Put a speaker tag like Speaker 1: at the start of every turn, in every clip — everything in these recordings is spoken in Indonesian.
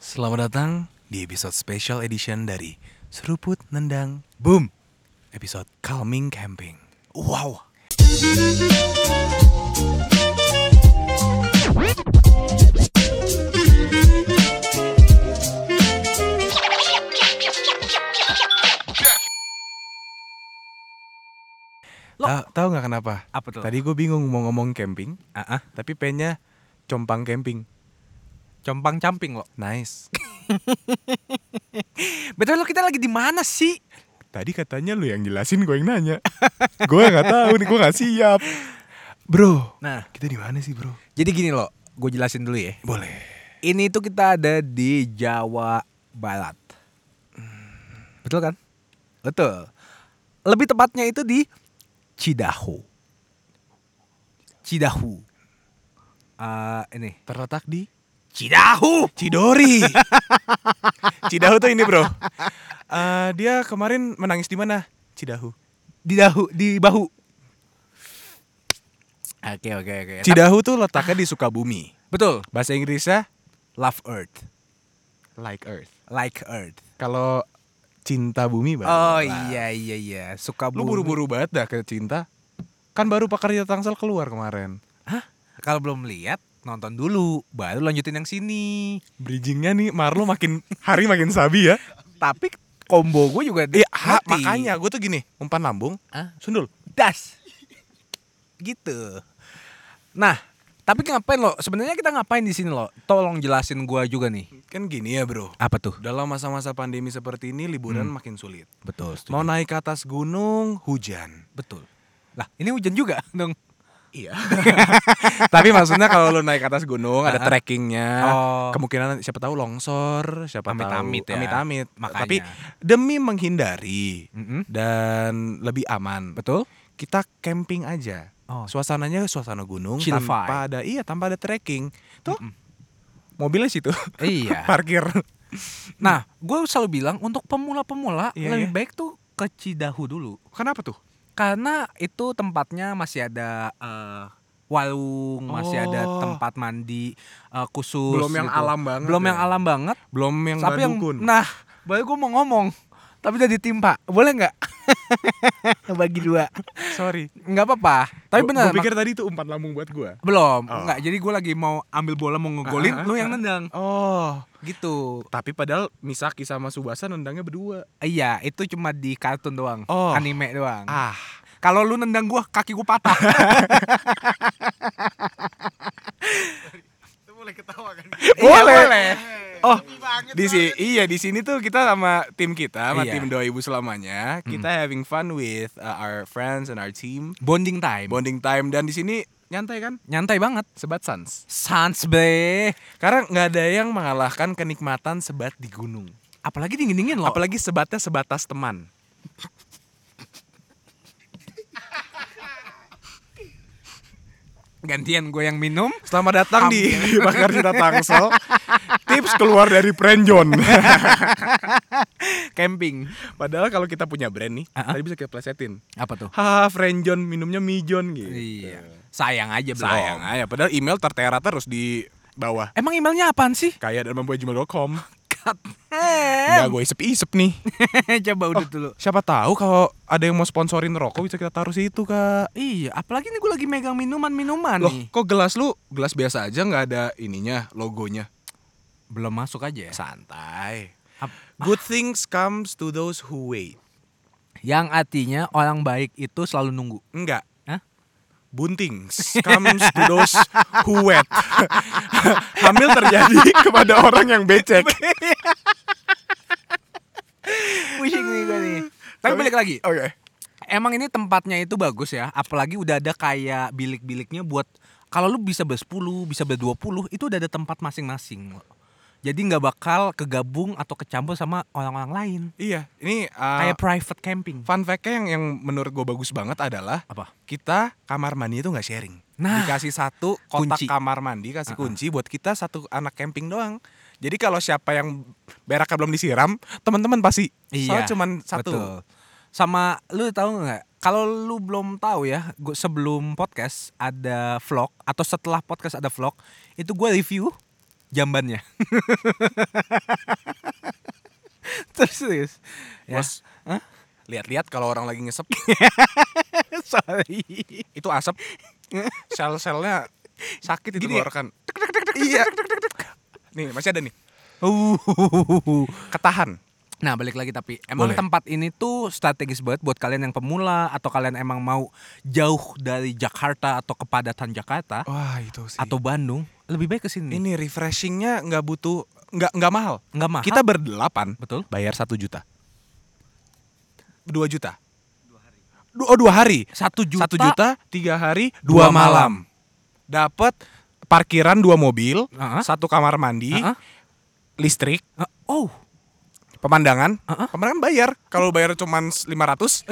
Speaker 1: Selamat datang di episode special edition dari Seruput Nendang Boom. Episode Calming Camping. Wow.
Speaker 2: Lo-
Speaker 1: Ta- Tahu nggak kenapa?
Speaker 2: Apa tuh?
Speaker 1: Tadi gue bingung mau ngomong camping,
Speaker 2: Ah, ah.
Speaker 1: tapi pengennya compang camping.
Speaker 2: compang camping lo.
Speaker 1: Nice.
Speaker 2: Betul lo kita lagi di mana sih?
Speaker 1: Tadi katanya lu yang jelasin, gue yang nanya. gue nggak tahu nih, gue nggak siap. Bro,
Speaker 2: Nah,
Speaker 1: kita di mana sih, bro?
Speaker 2: jadi gini lo, gue jelasin dulu ya.
Speaker 1: Boleh.
Speaker 2: Ini tuh kita ada di Jawa Barat. Betul kan? Betul. Lebih tepatnya itu di Cidahu. Cidahu. Ah, ini
Speaker 1: Terletak di
Speaker 2: Cidahu.
Speaker 1: Cidori. Cidahu tuh ini, bro. Eh, dia kemarin menangis di mana? Cidahu.
Speaker 2: Di dahu, di bahu. Oke, oke, oke.
Speaker 1: Eh, Cidahu tuh letaknya di Sukabumi.
Speaker 2: Betul.
Speaker 1: Bahasa Inggrisnya
Speaker 2: Love Earth,
Speaker 1: like earth.
Speaker 2: like Earth.
Speaker 1: Kalau cinta bumi baru. lah.
Speaker 2: Oh iya iya iya suka
Speaker 1: Lu buru-buru banget dah ke cinta. Kan baru pakarya Tangsel keluar kemarin.
Speaker 2: Hah? Kalau belum lihat nonton dulu, baru lanjutin yang sini.
Speaker 1: Bridgingnya nih Marlo makin hari makin sabi ya.
Speaker 2: Tapi combo gue juga
Speaker 1: Iya,
Speaker 2: mati.
Speaker 1: makanya gue tuh gini, umpan lambung,
Speaker 2: Hah?
Speaker 1: sundul.
Speaker 2: das. Gitu. Nah, tapi ngapain lo? Sebenarnya kita ngapain di sini lo? Tolong jelasin gua juga nih.
Speaker 1: Kan gini ya, Bro.
Speaker 2: Apa tuh?
Speaker 1: Dalam masa-masa pandemi seperti ini liburan
Speaker 2: Hmm.
Speaker 1: makin sulit.
Speaker 2: Betul.
Speaker 1: Mau naik ke atas gunung hujan.
Speaker 2: Betul. Lah, ini hujan juga dong.
Speaker 1: Iya. Tapi maksudnya kalau lu naik ke atas gunung ada trekkingnya,
Speaker 2: Oh.
Speaker 1: kemungkinan siapa tahu longsor, siapa
Speaker 2: Amit-amit
Speaker 1: tahu
Speaker 2: ya.
Speaker 1: amit-amit.
Speaker 2: Makanya. Hmm?
Speaker 1: Tapi demi menghindari
Speaker 2: Mm-mm.
Speaker 1: dan lebih aman,
Speaker 2: Betul?
Speaker 1: kita camping aja.
Speaker 2: Oh.
Speaker 1: Suasananya suasana gunung
Speaker 2: Chill
Speaker 1: tanpa ada iya tanpa ada trekking. Tuh mobilnya situ.
Speaker 2: Iya.
Speaker 1: Parkir.
Speaker 2: Nah, gue selalu bilang untuk pemula-pemula
Speaker 1: Iya,
Speaker 2: lebih
Speaker 1: iya.
Speaker 2: baik tuh ke Cidahu dulu.
Speaker 1: Kenapa tuh?
Speaker 2: Karena itu tempatnya masih ada eh, warung, masih ada
Speaker 1: Oh.
Speaker 2: tempat mandi eh, khusus.
Speaker 1: Belum yang
Speaker 2: gitu.
Speaker 1: alam banget
Speaker 2: Belum
Speaker 1: ya.
Speaker 2: yang alam banget.
Speaker 1: Belum yang
Speaker 2: tapi yang
Speaker 1: badukun.
Speaker 2: nah, baru gue mau ngomong, tapi udah ditimpa. Boleh nggak? Bagi dua.
Speaker 1: Sorry.
Speaker 2: Nggak apa-apa. Tapi
Speaker 1: Gua-
Speaker 2: benar.
Speaker 1: gua pikir tadi itu umpan lambung buat gua.
Speaker 2: mak- belum.
Speaker 1: Oh.
Speaker 2: Nggak. Jadi gue lagi mau ambil bola mau ngegolin,
Speaker 1: Ah, ah,
Speaker 2: lu yang
Speaker 1: ah.
Speaker 2: nendang.
Speaker 1: Oh.
Speaker 2: Gitu.
Speaker 1: Tapi padahal Misaki sama Subasa nendangnya berdua.
Speaker 2: Iya, itu cuma di kartun doang,
Speaker 1: Oh.
Speaker 2: anime doang.
Speaker 1: Ah.
Speaker 2: Kalau lu nendang gua, kaki gua patah. Iya, boleh.
Speaker 1: Oh, di si iya di sini tuh kita sama tim kita, sama
Speaker 2: Iya.
Speaker 1: tim doa ibu selamanya, kita having fun with uh, our friends and our team,
Speaker 2: Bonding time.
Speaker 1: bonding time dan di sini nyantai kan,
Speaker 2: Nyantai banget.
Speaker 1: sebat sans.
Speaker 2: Sans be.
Speaker 1: Karena nggak ada yang mengalahkan kenikmatan sebat di gunung.
Speaker 2: Apalagi dingin-dingin loh.
Speaker 1: Apalagi sebatnya sebatas teman.
Speaker 2: gantian gue yang minum.
Speaker 1: Selamat datang di
Speaker 2: Hampir.
Speaker 1: Bakar Cita Tangsel. Tips keluar dari brand John.
Speaker 2: Camping.
Speaker 1: Padahal kalau kita punya brand nih,
Speaker 2: Ah, ah.
Speaker 1: tadi bisa kita plesetin.
Speaker 2: Apa tuh?
Speaker 1: Haha, friend John minumnya Mi John gitu.
Speaker 2: Iya. Sayang aja belum.
Speaker 1: Sayang aja, padahal email tertera terus di bawah.
Speaker 2: Emang emailnya apaan sih?
Speaker 1: Kaya dan membuat gmail.com.
Speaker 2: Cut.
Speaker 1: Enggak gue isep-isep nih.
Speaker 2: Coba udah dulu.
Speaker 1: Siapa tahu kalau ada yang mau sponsorin rokok bisa kita taruh situ, Kak.
Speaker 2: Iya, apalagi ini gue lagi megang minuman-minuman
Speaker 1: Loh,
Speaker 2: nih.
Speaker 1: kok gelas lu gelas biasa aja nggak ada ininya, logonya.
Speaker 2: Belum masuk aja ya.
Speaker 1: Santai.
Speaker 2: Ap-
Speaker 1: Good things comes to those who wait.
Speaker 2: Yang artinya orang baik itu selalu nunggu.
Speaker 1: Enggak.
Speaker 2: Hah?
Speaker 1: Buntings comes to those who wait. Hamil terjadi kepada orang yang becek.
Speaker 2: Wishing nih gue nih. Tapi balik lagi.
Speaker 1: Oke.
Speaker 2: Emang ini tempatnya itu bagus ya, apalagi udah ada kayak bilik-biliknya buat kalau lu bisa bersepuluh, bisa berdua itu udah ada tempat masing-masing. loh. Jadi nggak bakal kegabung atau kecampur sama orang-orang lain.
Speaker 1: Iya, ini uh,
Speaker 2: Kayak private camping.
Speaker 1: fun fact-nya yang, yang menurut gue bagus banget adalah
Speaker 2: Apa?
Speaker 1: kita kamar mandi itu nggak sharing.
Speaker 2: Nah.
Speaker 1: dikasih satu kotak
Speaker 2: Kunci.
Speaker 1: kamar mandi, kasih kunci buat kita satu anak camping doang. Jadi kalau siapa yang beraknya belum disiram, teman-teman pasti. Soalnya cuman satu.
Speaker 2: Iya, betul. Sama lu tahu nggak? Kalau lu belum tahu ya, gua sebelum podcast ada vlog atau setelah podcast ada vlog, itu gue review jambannya. terus terus. Ya.
Speaker 1: Bos, lihat-lihat kalau orang lagi ngesep
Speaker 2: Sorry.
Speaker 1: itu asap sel-selnya sakit itu
Speaker 2: Gini ya?
Speaker 1: keluarkan. Iya. Nih, masih ada nih.
Speaker 2: Uh.
Speaker 1: Ketahan.
Speaker 2: Nah balik lagi tapi
Speaker 1: Boleh.
Speaker 2: emang tempat ini tuh strategis banget buat kalian yang pemula atau kalian emang mau jauh dari Jakarta atau kepadatan Jakarta
Speaker 1: Wah, itu sih.
Speaker 2: atau Bandung lebih baik ke sini.
Speaker 1: ini refreshingnya nggak butuh nggak nggak mahal.
Speaker 2: Nggak mahal.
Speaker 1: Kita berdelapan
Speaker 2: betul.
Speaker 1: bayar satu juta. Dua juta. Dua hari. Oh, dua hari.
Speaker 2: Satu juta.
Speaker 1: Satu juta, tiga hari, dua,
Speaker 2: Dua
Speaker 1: malam. Dapat parkiran dua mobil,
Speaker 2: Heeh.
Speaker 1: satu kamar mandi,
Speaker 2: Heeh.
Speaker 1: listrik,
Speaker 2: Eh, Oh,
Speaker 1: pemandangan.
Speaker 2: Heeh.
Speaker 1: Pemandangan bayar. Kalau bayar cuman 500,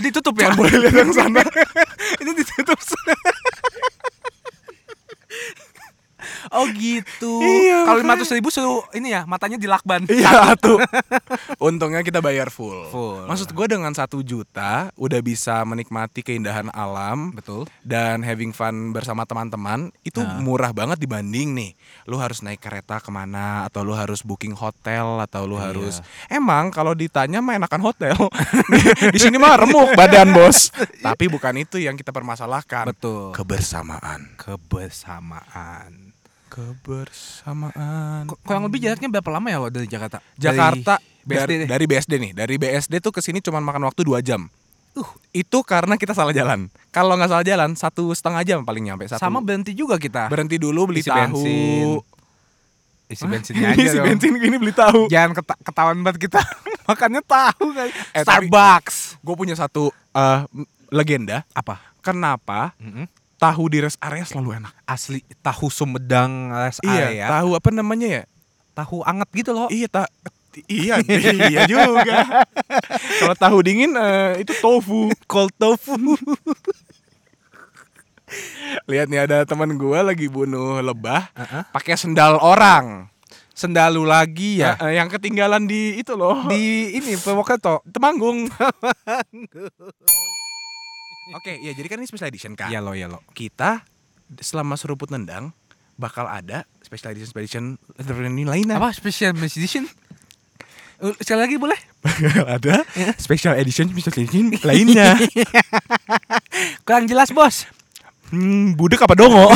Speaker 2: ditutup ya?
Speaker 1: nggak boleh lihat yang sana.
Speaker 2: Ini ditutup. oh gitu.
Speaker 1: Iya,
Speaker 2: Kalau lima
Speaker 1: makanya.
Speaker 2: ratus ribu suruh ini ya matanya dilakban.
Speaker 1: Iya tuh. Untungnya kita bayar full.
Speaker 2: Full.
Speaker 1: Maksud gue dengan satu juta udah bisa menikmati keindahan alam
Speaker 2: Betul.
Speaker 1: dan having fun bersama teman-teman itu
Speaker 2: Nah.
Speaker 1: murah banget dibanding nih. Lu harus naik kereta kemana atau lu harus booking hotel atau lu
Speaker 2: Iya.
Speaker 1: harus emang kalau ditanya mah enakan hotel. Di sini mah remuk badan bos. Tapi bukan itu yang kita permasalahkan.
Speaker 2: Betul.
Speaker 1: Kebersamaan.
Speaker 2: Kebersamaan.
Speaker 1: Kebersamaan.
Speaker 2: Kurang lebih jaraknya berapa lama ya lo dari Jakarta?
Speaker 1: Jakarta dari,
Speaker 2: Dari,
Speaker 1: dari BSD nih dari BSD tuh ke sini cuma makan waktu dua jam
Speaker 2: Uh.
Speaker 1: itu karena kita salah jalan kalau nggak salah jalan satu setengah jam paling nyampe satu
Speaker 2: sama berhenti juga kita.
Speaker 1: berhenti dulu beli
Speaker 2: Isi
Speaker 1: tahu
Speaker 2: bensin. Isi bensinnya aja
Speaker 1: isi
Speaker 2: dong.
Speaker 1: bensin gini beli tahu
Speaker 2: Jangan keta- ketahuan banget kita. Makannya tahu kan.
Speaker 1: Eh, tapi-
Speaker 2: Starbucks.
Speaker 1: gue punya satu eh, m- legenda
Speaker 2: Apa?
Speaker 1: kenapa tahu di rest area selalu enak
Speaker 2: Asli tahu Sumedang rest
Speaker 1: iya
Speaker 2: area.
Speaker 1: tahu apa namanya ya
Speaker 2: Tahu anget gitu loh.
Speaker 1: iya ta- iya iya juga kalau tahu dingin eh, itu tofu
Speaker 2: Cold tofu.
Speaker 1: lihat nih ada teman gue lagi bunuh lebah
Speaker 2: Heeh.
Speaker 1: pakai sendal orang
Speaker 2: Sendalu lagi ya.
Speaker 1: Eh, eh, yang ketinggalan di itu loh.
Speaker 2: Di ini Purwokerto.
Speaker 1: Temanggung. Oke, ya jadi kan ini special edition kan.
Speaker 2: lo ya lo.
Speaker 1: Kita selama seruput nendang bakal ada special edition special edition eh, ini lainnya.
Speaker 2: Apa special edition? Eh, Sekali lagi boleh?
Speaker 1: Bakal ada special edition special edition lainnya.
Speaker 2: Kurang jelas bos.
Speaker 1: Hmm, budek apa dongo?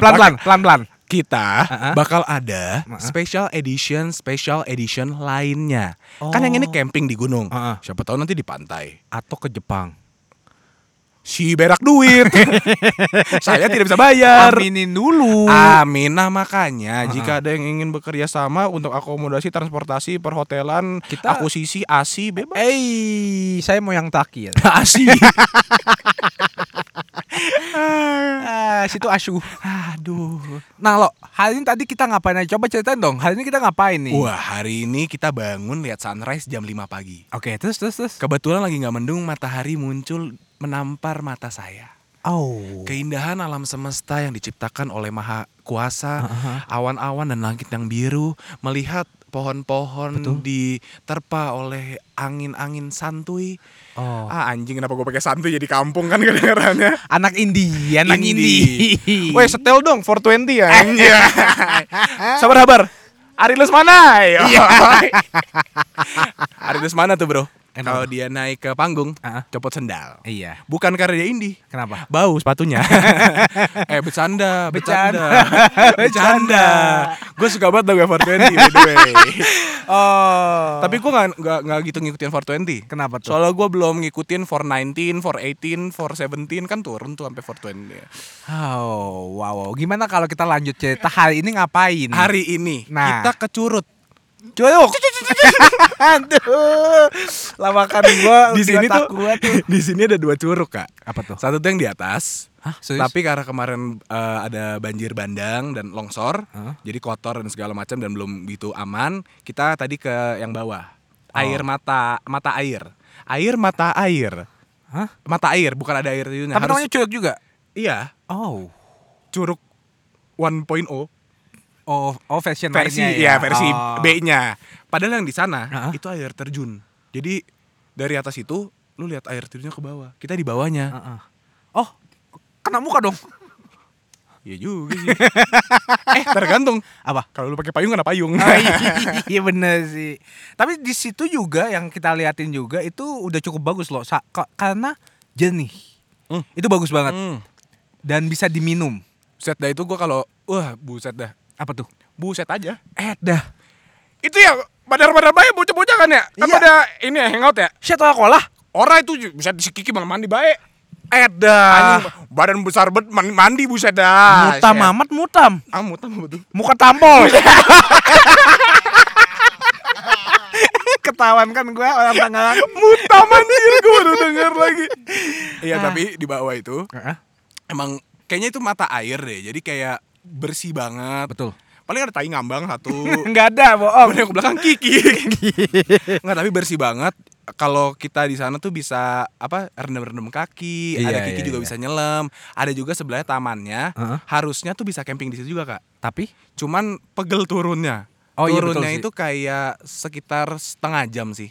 Speaker 2: Pelan-pelan, pelan-pelan.
Speaker 1: Kita
Speaker 2: Uh-uh.
Speaker 1: bakal ada
Speaker 2: Uh-uh.
Speaker 1: special edition special edition lainnya. Kan yang ini
Speaker 2: Oh.
Speaker 1: camping di gunung.
Speaker 2: Uh-uh.
Speaker 1: Siapa tahu nanti di pantai.
Speaker 2: Atau ke Jepang.
Speaker 1: si berak duit. Saya tidak bisa bayar.
Speaker 2: Aminin dulu.
Speaker 1: Amin. Nah makanya
Speaker 2: Uh-uh.
Speaker 1: jika ada yang ingin bekerja sama untuk akomodasi, transportasi, perhotelan,
Speaker 2: Kita-
Speaker 1: akuisisi, asi, bebas.
Speaker 2: Eh, saya mau yang takir.
Speaker 1: Asi.
Speaker 2: Ah, situ asuh.
Speaker 1: Aduh.
Speaker 2: Nah lo, hari ini tadi kita ngapain aja? Coba ceritain dong. Hari ini kita ngapain nih?
Speaker 1: Wah hari ini kita bangun lihat sunrise jam 5 pagi.
Speaker 2: Oke, terus terus terus.
Speaker 1: Kebetulan lagi nggak mendung, matahari muncul menampar mata saya.
Speaker 2: Oh.
Speaker 1: Keindahan alam semesta yang diciptakan oleh Maha Kuasa, awan-awan dan langit yang biru, melihat pohon-pohon
Speaker 2: Betul.
Speaker 1: diterpa oleh angin-angin santuy.
Speaker 2: Oh.
Speaker 1: Ah anjing kenapa gue pakai santuy jadi kampung kan kedengarannya.
Speaker 2: Anak indie, anak
Speaker 1: Indie.
Speaker 2: indie.
Speaker 1: Woi setel dong 420 ya.
Speaker 2: Eh,
Speaker 1: Iya. Sabar habar. Ari Lesmana.
Speaker 2: eh,
Speaker 1: Iya. Ari Lesmana tuh bro.
Speaker 2: Enak.
Speaker 1: Kalau dia naik ke panggung,
Speaker 2: Ah.
Speaker 1: copot sendal.
Speaker 2: Iya.
Speaker 1: Bukan karena dia indie.
Speaker 2: Kenapa?
Speaker 1: Bau sepatunya. eh bercanda, bercanda.
Speaker 2: Bercanda.
Speaker 1: Bercanda. Gue suka banget lagu 420 by the way.
Speaker 2: Oh.
Speaker 1: Tapi gue gak, nggak nggak gitu ngikutin 420.
Speaker 2: kenapa tuh?
Speaker 1: Soalnya gue belum ngikutin 419, 418, 417 kan turun tuh sampai 420.
Speaker 2: Oh, wow, wow. Gimana kalau kita lanjut cerita hari ini ngapain?
Speaker 1: Hari ini
Speaker 2: Hmm. Nah.
Speaker 1: kita ke Curut.
Speaker 2: Curug. Aduh. Lawakan gua
Speaker 1: Di sini tuh,
Speaker 2: takut.
Speaker 1: di sini ada dua curug kak.
Speaker 2: apa tuh?
Speaker 1: Satu tuh yang di atas,
Speaker 2: Hah,
Speaker 1: tapi karena kemarin eh, ada banjir bandang dan longsor,
Speaker 2: Hah?
Speaker 1: jadi kotor dan segala macam dan belum gitu aman. Kita tadi ke yang bawah,
Speaker 2: Oh.
Speaker 1: air mata mata air, air mata air,
Speaker 2: Hah?
Speaker 1: mata air bukan ada air itu.
Speaker 2: Tapi namanya curug juga.
Speaker 1: iya
Speaker 2: Oh.
Speaker 1: curug 1.0
Speaker 2: Oh, oh fashion
Speaker 1: versi
Speaker 2: lainnya
Speaker 1: ya, versi
Speaker 2: Oh.
Speaker 1: B-nya. Padahal yang di sana
Speaker 2: Hah?
Speaker 1: itu air terjun. Jadi dari atas itu lu lihat air terjunnya ke bawah. Kita di bawahnya.
Speaker 2: Heeh. Oh, kena muka dong.
Speaker 1: Iya juga sih. eh, tergantung.
Speaker 2: Apa? Oh,
Speaker 1: Kalau lu pakai payung kenapa payung?
Speaker 2: iya bener sih. Tapi di situ juga yang kita liatin juga itu udah cukup bagus loh Sa- ka- karena jernih.
Speaker 1: Hmm.
Speaker 2: Itu bagus banget
Speaker 1: hmm.
Speaker 2: dan bisa diminum.
Speaker 1: Buset dah itu gua kalau wah buset dah.
Speaker 2: Apa tuh?
Speaker 1: Buset aja.
Speaker 2: Eh dah.
Speaker 1: Itu ya badar-badar baik bocah-bocah kan ya? Kan
Speaker 2: Iya.
Speaker 1: pada ini ya hangout ya?
Speaker 2: Shit lah.
Speaker 1: Orang itu ju- bisa disikiki malah mandi baik.
Speaker 2: Eh dah.
Speaker 1: Anjing badan besar bet man- mandi buset dah. Ah,
Speaker 2: mutam
Speaker 1: Shit.
Speaker 2: amat mutam.
Speaker 1: Ah, mutam betul.
Speaker 2: Muka tampol. Ketahuan kan gue orang Tangerang.
Speaker 1: Mutam anjir gua baru denger lagi. Iya,
Speaker 2: Nah.
Speaker 1: tapi di bawah itu emang kayaknya itu mata air deh. Jadi kayak bersih banget.
Speaker 2: Betul.
Speaker 1: Paling ada tai ngambang satu.
Speaker 2: Enggak ada bohong.
Speaker 1: Kemudian ke belakang kiki. Enggak, tapi bersih banget. Kalau kita di sana tuh bisa apa rendam-rendam kaki,
Speaker 2: Iya,
Speaker 1: ada kiki
Speaker 2: iya,
Speaker 1: juga
Speaker 2: iya.
Speaker 1: bisa nyelam, ada juga sebelahnya tamannya.
Speaker 2: Heeh.
Speaker 1: Harusnya tuh bisa camping di situ juga, Kak.
Speaker 2: Tapi
Speaker 1: Cuman pegel turunnya.
Speaker 2: Oh, iya, betul
Speaker 1: turunnya
Speaker 2: sih.
Speaker 1: itu kayak sekitar setengah jam sih.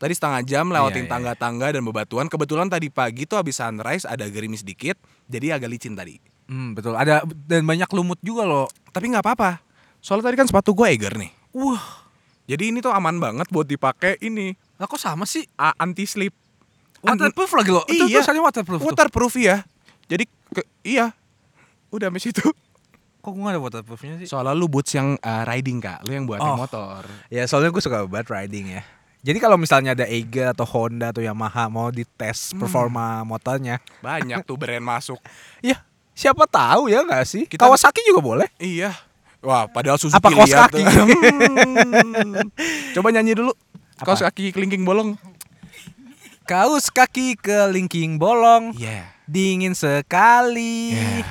Speaker 1: Tadi setengah jam lewatin
Speaker 2: Iya, iya, iya.
Speaker 1: tangga-tangga dan bebatuan. Kebetulan tadi pagi tuh habis sunrise ada gerimis dikit, jadi agak licin tadi.
Speaker 2: hmm, betul ada dan banyak lumut juga loh.
Speaker 1: Tapi nggak apa-apa. Soalnya tadi kan sepatu gue Eger nih.
Speaker 2: Wah,
Speaker 1: Jadi ini tuh aman banget buat dipakai ini
Speaker 2: lah kok sama sih?
Speaker 1: anti slip.
Speaker 2: Waterproof lagi loh. Itu
Speaker 1: Iya.
Speaker 2: tulisannya waterproof. tuh.
Speaker 1: waterproof ya. Jadi ke- iya. Udah sampai situ.
Speaker 2: Kok gue gak ada waterproofnya sih?
Speaker 1: Soalnya lu boots yang eh, riding kak, lu yang buat
Speaker 2: Oh.
Speaker 1: motor.
Speaker 2: Ya soalnya gue suka banget riding ya. Jadi kalau misalnya ada Eiger atau Honda atau Yamaha mau dites performa motornya,
Speaker 1: Banyak tuh brand masuk.
Speaker 2: ya siapa tahu ya nggak sih?
Speaker 1: Kita-
Speaker 2: Kawasaki juga boleh.
Speaker 1: Iya. Wah, padahal Suzuki
Speaker 2: Apa kaos
Speaker 1: liat
Speaker 2: kaki?
Speaker 1: tuh. Hmm. Coba nyanyi dulu.
Speaker 2: Apa?
Speaker 1: Kaos kaki kelingking bolong.
Speaker 2: Kaos kaki kelingking bolong,
Speaker 1: Iya.
Speaker 2: dingin sekali.
Speaker 1: Yeah.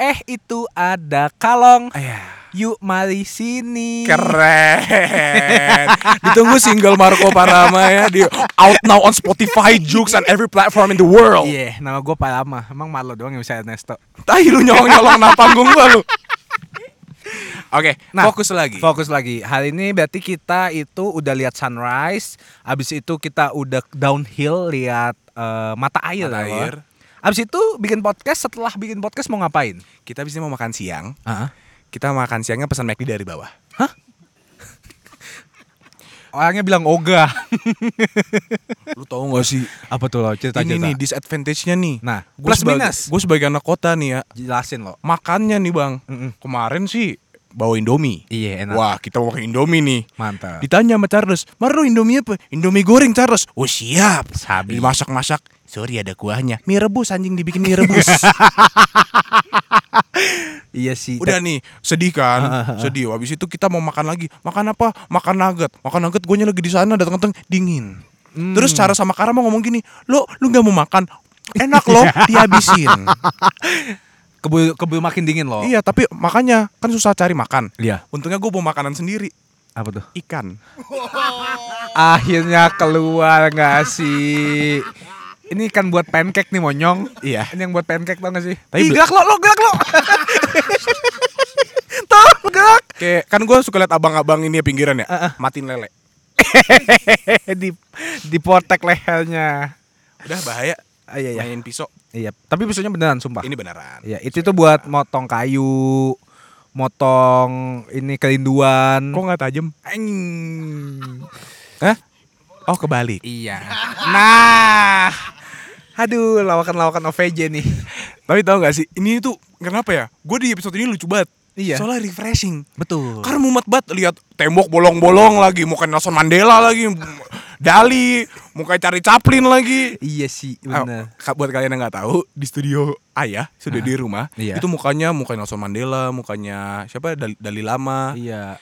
Speaker 2: Eh itu ada kalong.
Speaker 1: Iya.
Speaker 2: Yuk mari sini.
Speaker 1: Keren. Ditunggu single Marco Parama ya di out now on Spotify, Joox and every platform in the world.
Speaker 2: Iya, nama gue Palama. Emang Marlo doang yang bisa Ernesto.
Speaker 1: Tai lu nyolong-nyolong nama panggung gua lu. Oke,
Speaker 2: Nah,
Speaker 1: fokus lagi.
Speaker 2: Fokus lagi. Hari ini berarti kita itu udah lihat sunrise, habis itu kita udah downhill lihat eh, mata air.
Speaker 1: Mata
Speaker 2: loh.
Speaker 1: air.
Speaker 2: Habis itu bikin podcast, setelah bikin podcast mau ngapain?
Speaker 1: kita bisa mau makan siang.
Speaker 2: Heeh.
Speaker 1: Kita makan siangnya pesan McD dari bawah.
Speaker 2: Orangnya bilang ogah.
Speaker 1: Lu tau gak sih?
Speaker 2: Apa tuh lo cerita
Speaker 1: Ini nih disadvantage-nya nih.
Speaker 2: Nah,
Speaker 1: Gua
Speaker 2: plus
Speaker 1: sebagai-
Speaker 2: minus.
Speaker 1: Gue sebagai anak kota nih ya,
Speaker 2: Jelasin lo.
Speaker 1: makannya nih bang.
Speaker 2: Mm-mm.
Speaker 1: Kemarin sih bawa Indomie.
Speaker 2: Iya, enak. Iya.
Speaker 1: Wah, kita mau makan Indomie nih.
Speaker 2: Mantap.
Speaker 1: Ditanya sama Charles, Maru Indomie apa? Indomie goreng Charles. Oh siap.
Speaker 2: Sabi.
Speaker 1: Dimasak-masak. Sorry ada kuahnya. Mie rebus anjing dibikin mie rebus.
Speaker 2: Iya sih.
Speaker 1: Udah nih, sedih kan? sedih. Habis itu kita mau makan lagi. Makan apa? Makan nugget. Makan nugget gonya lagi di sana datang-datang dingin.
Speaker 2: Hmm.
Speaker 1: Terus cara sama Kara mau ngomong gini, "Lo lu nggak mau makan?" Enak loh, dihabisin.
Speaker 2: Keburu keburu makin dingin lo.
Speaker 1: Iya, tapi makanya kan susah cari makan.
Speaker 2: Iya.
Speaker 1: Untungnya gue bawa makanan sendiri,
Speaker 2: Apa tuh?
Speaker 1: ikan.
Speaker 2: Akhirnya keluar nggak sih? Ini kan buat pancake nih monyong.
Speaker 1: Iya.
Speaker 2: Ini yang buat pancake tau gak sih?
Speaker 1: Tapi
Speaker 2: Ih,
Speaker 1: bel-
Speaker 2: gerak lo, lo gerak lo. Tau lo gerak.
Speaker 1: Kayak kan gue suka liat abang-abang ini ya pinggiran ya, matiin lele.
Speaker 2: Eh, di dipotek lehernya.
Speaker 1: Udah bahaya.
Speaker 2: Ah, iya iya.
Speaker 1: Main pisau.
Speaker 2: Iya. Tapi besoknya beneran sumpah.
Speaker 1: Ini beneran.
Speaker 2: Iya, itu tuh buat motong kayu, motong ini kerinduan.
Speaker 1: Kok nggak tajem?
Speaker 2: Anjing.
Speaker 1: Hah? Oh kebalik.
Speaker 2: Iya. Nah. Aduh, lawakan-lawakan OVJ nih.
Speaker 1: Tapi tau gak sih, ini tuh kenapa ya? Gue di episode ini lucu banget.
Speaker 2: Iya.
Speaker 1: Soalnya refreshing.
Speaker 2: Betul.
Speaker 1: Karena mumet banget lihat tembok bolong-bolong lagi, mau kayak Nelson Mandela lagi, Dali, mau kayak cari Chaplin lagi.
Speaker 2: Iya sih,
Speaker 1: Ah, ka- buat kalian yang nggak tahu, di studio Ayah sudah di rumah.
Speaker 2: Iya.
Speaker 1: Itu mukanya muka Nelson Mandela, mukanya siapa Dali, Dali Lama.
Speaker 2: Iya.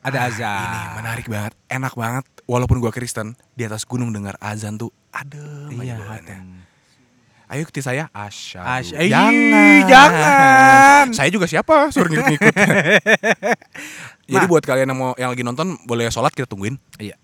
Speaker 2: Ah, Ada azan.
Speaker 1: Ini menarik banget, enak banget. Walaupun gua Kristen, di atas gunung dengar azan tuh adem aja
Speaker 2: Iya.
Speaker 1: bawaannya. Ayo ikuti saya Asya.
Speaker 2: Asya- Ih, jangan.
Speaker 1: Saya juga siapa? Suruh ngikut-ngikut. Jadi buat kalian yang mau yang lagi nonton boleh sholat kita tungguin.
Speaker 2: Iya.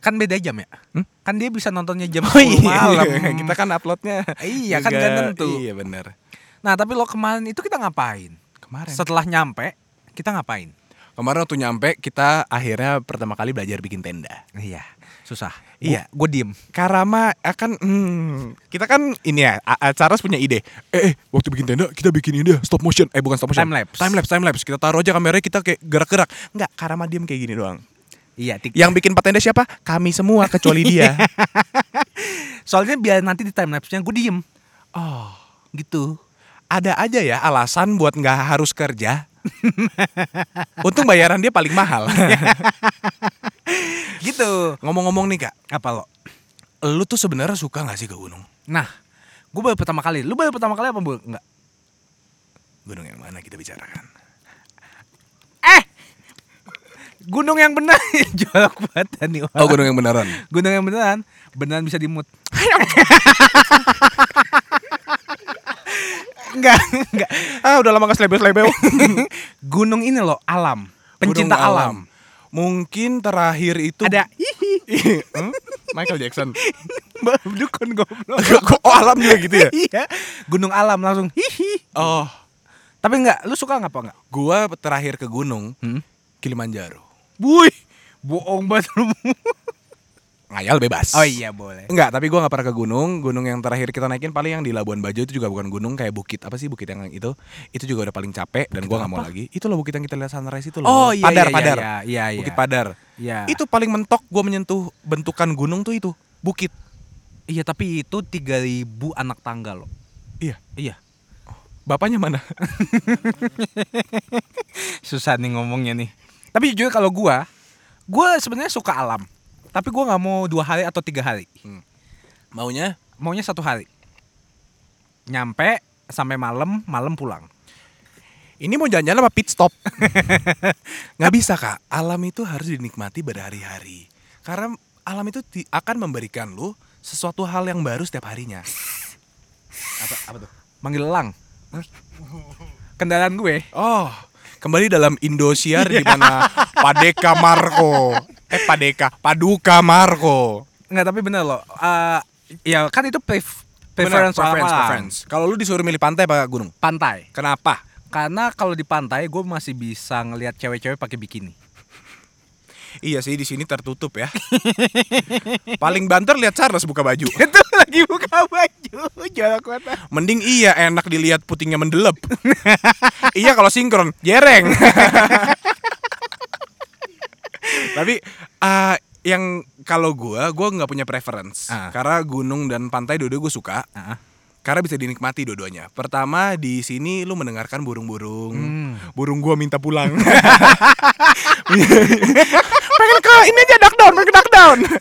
Speaker 2: Kan beda jam ya?
Speaker 1: Hmm?
Speaker 2: Kan dia bisa nontonnya jam 10 malam.
Speaker 1: Oh, iya. kita kan uploadnya.
Speaker 2: Iya, kan
Speaker 1: juga-
Speaker 2: nggak tentu.
Speaker 1: Iya benar.
Speaker 2: Nah, tapi lo kemarin itu kita ngapain?
Speaker 1: Kemarin.
Speaker 2: Setelah nyampe, kita ngapain?
Speaker 1: Kemarin waktu nyampe kita akhirnya pertama kali belajar bikin tenda.
Speaker 2: Iya, susah. Iya, gue diem.
Speaker 1: Karama akan hmm, kita kan ini ya A- A- Charles punya ide. Eh, eh waktu bikin tenda kita bikin ini deh, stop motion. Eh bukan stop motion.
Speaker 2: Time lapse.
Speaker 1: Time lapse, time lapse. Kita taruh aja kameranya kita kayak gerak-gerak. Enggak, Karama diem kayak gini doang.
Speaker 2: Iya, tik.
Speaker 1: Yang bikin empat tenda siapa? Kami semua kecuali dia.
Speaker 2: Soalnya biar nanti di time lapse-nya gue diem
Speaker 1: oh,
Speaker 2: gitu.
Speaker 1: ada aja ya alasan buat nggak harus kerja. Untung bayaran dia paling mahal.
Speaker 2: Gitu.
Speaker 1: Ngomong-ngomong nih kak,
Speaker 2: Apa lo?
Speaker 1: lu tuh sebenarnya suka nggak sih ke gunung?
Speaker 2: Nah, gue baru pertama kali. Lu baru pertama kali apa, Bu? Enggak.
Speaker 1: Gunung yang mana kita bicarakan?
Speaker 2: Eh! Gunung yang benar jorok banget nih orang.
Speaker 1: Oh gunung yang beneran.
Speaker 2: Gunung yang beneran, beneran bisa dimut. enggak, enggak.
Speaker 1: ah udah lama gak selebel-selebel.
Speaker 2: Gunung ini loh alam, pencinta
Speaker 1: Gunung
Speaker 2: alam.
Speaker 1: Mungkin terakhir itu
Speaker 2: Ada hihi.
Speaker 1: Hmm? Michael Jackson.
Speaker 2: Dukun goblok.
Speaker 1: Kok oh, alam juga gitu ya?
Speaker 2: iya, gunung alam langsung hihi.
Speaker 1: Oh,
Speaker 2: Tapi enggak, lu suka enggak apa enggak?
Speaker 1: gua terakhir ke gunung
Speaker 2: Hmm?
Speaker 1: Kilimanjaro.
Speaker 2: Buih, bohong banget lu.
Speaker 1: Ngayal bebas.
Speaker 2: Oh iya, boleh.
Speaker 1: Enggak, tapi gua nggak pernah ke gunung. Gunung yang terakhir kita naikin paling yang di Labuan Bajo itu juga bukan gunung, kayak bukit apa sih bukit yang itu? Itu juga udah paling capek dan gua nggak mau lagi. Itu loh bukit yang kita lihat sunrise itu loh.
Speaker 2: Oh iya,
Speaker 1: padar,
Speaker 2: iya,
Speaker 1: padar.
Speaker 2: iya, iya, iya.
Speaker 1: Bukit Padar.
Speaker 2: Iya.
Speaker 1: Itu paling mentok gua menyentuh bentukan gunung tuh itu, bukit.
Speaker 2: Iya, tapi itu 3000 anak tangga loh.
Speaker 1: Iya.
Speaker 2: Iya.
Speaker 1: Bapaknya mana?
Speaker 2: Susah nih ngomongnya nih. Tapi jujur kalau gua, gua sebenarnya suka alam. Tapi gua nggak mau dua hari atau tiga hari.
Speaker 1: Maunya
Speaker 2: Maunya satu hari. Nyampe sampai malam, malam pulang.
Speaker 1: Ini mau jalan-jalan apa pit stop? Nggak bisa kak, alam itu harus dinikmati berhari-hari Karena alam itu ti- akan memberikan lu sesuatu hal yang baru setiap harinya
Speaker 2: Apa, apa tuh? Manggil elang. Kendaraan gue.
Speaker 1: Oh, kembali dalam Indosiar di mana Padeka Marco Eh Padeka, Paduka Marco
Speaker 2: Nggak, tapi bener loh. Eh, ya kan itu pref- preference,
Speaker 1: Benar,
Speaker 2: orang.
Speaker 1: preference. Kalau lu disuruh milih pantai apa gunung?
Speaker 2: Pantai.
Speaker 1: Kenapa?
Speaker 2: Karena kalau di pantai gue masih bisa ngelihat cewek-cewek pakai bikini.
Speaker 1: Iya sih di sini tertutup ya. Paling banter lihat Charles buka baju.
Speaker 2: Itu lagi buka baju, jorok banget.
Speaker 1: Mending iya enak dilihat putingnya mendelep. iya kalau sinkron, jereng. Tapi eh, yang kalau gua, gua nggak punya preference.
Speaker 2: Ah.
Speaker 1: Karena gunung dan pantai dua-dua gue suka.
Speaker 2: Ah.
Speaker 1: Karena bisa dinikmati dua-duanya. Pertama di sini lu mendengarkan burung-burung.
Speaker 2: Hmm.
Speaker 1: Burung gua minta pulang. pengen ke ini aja duck down, pengen duck down.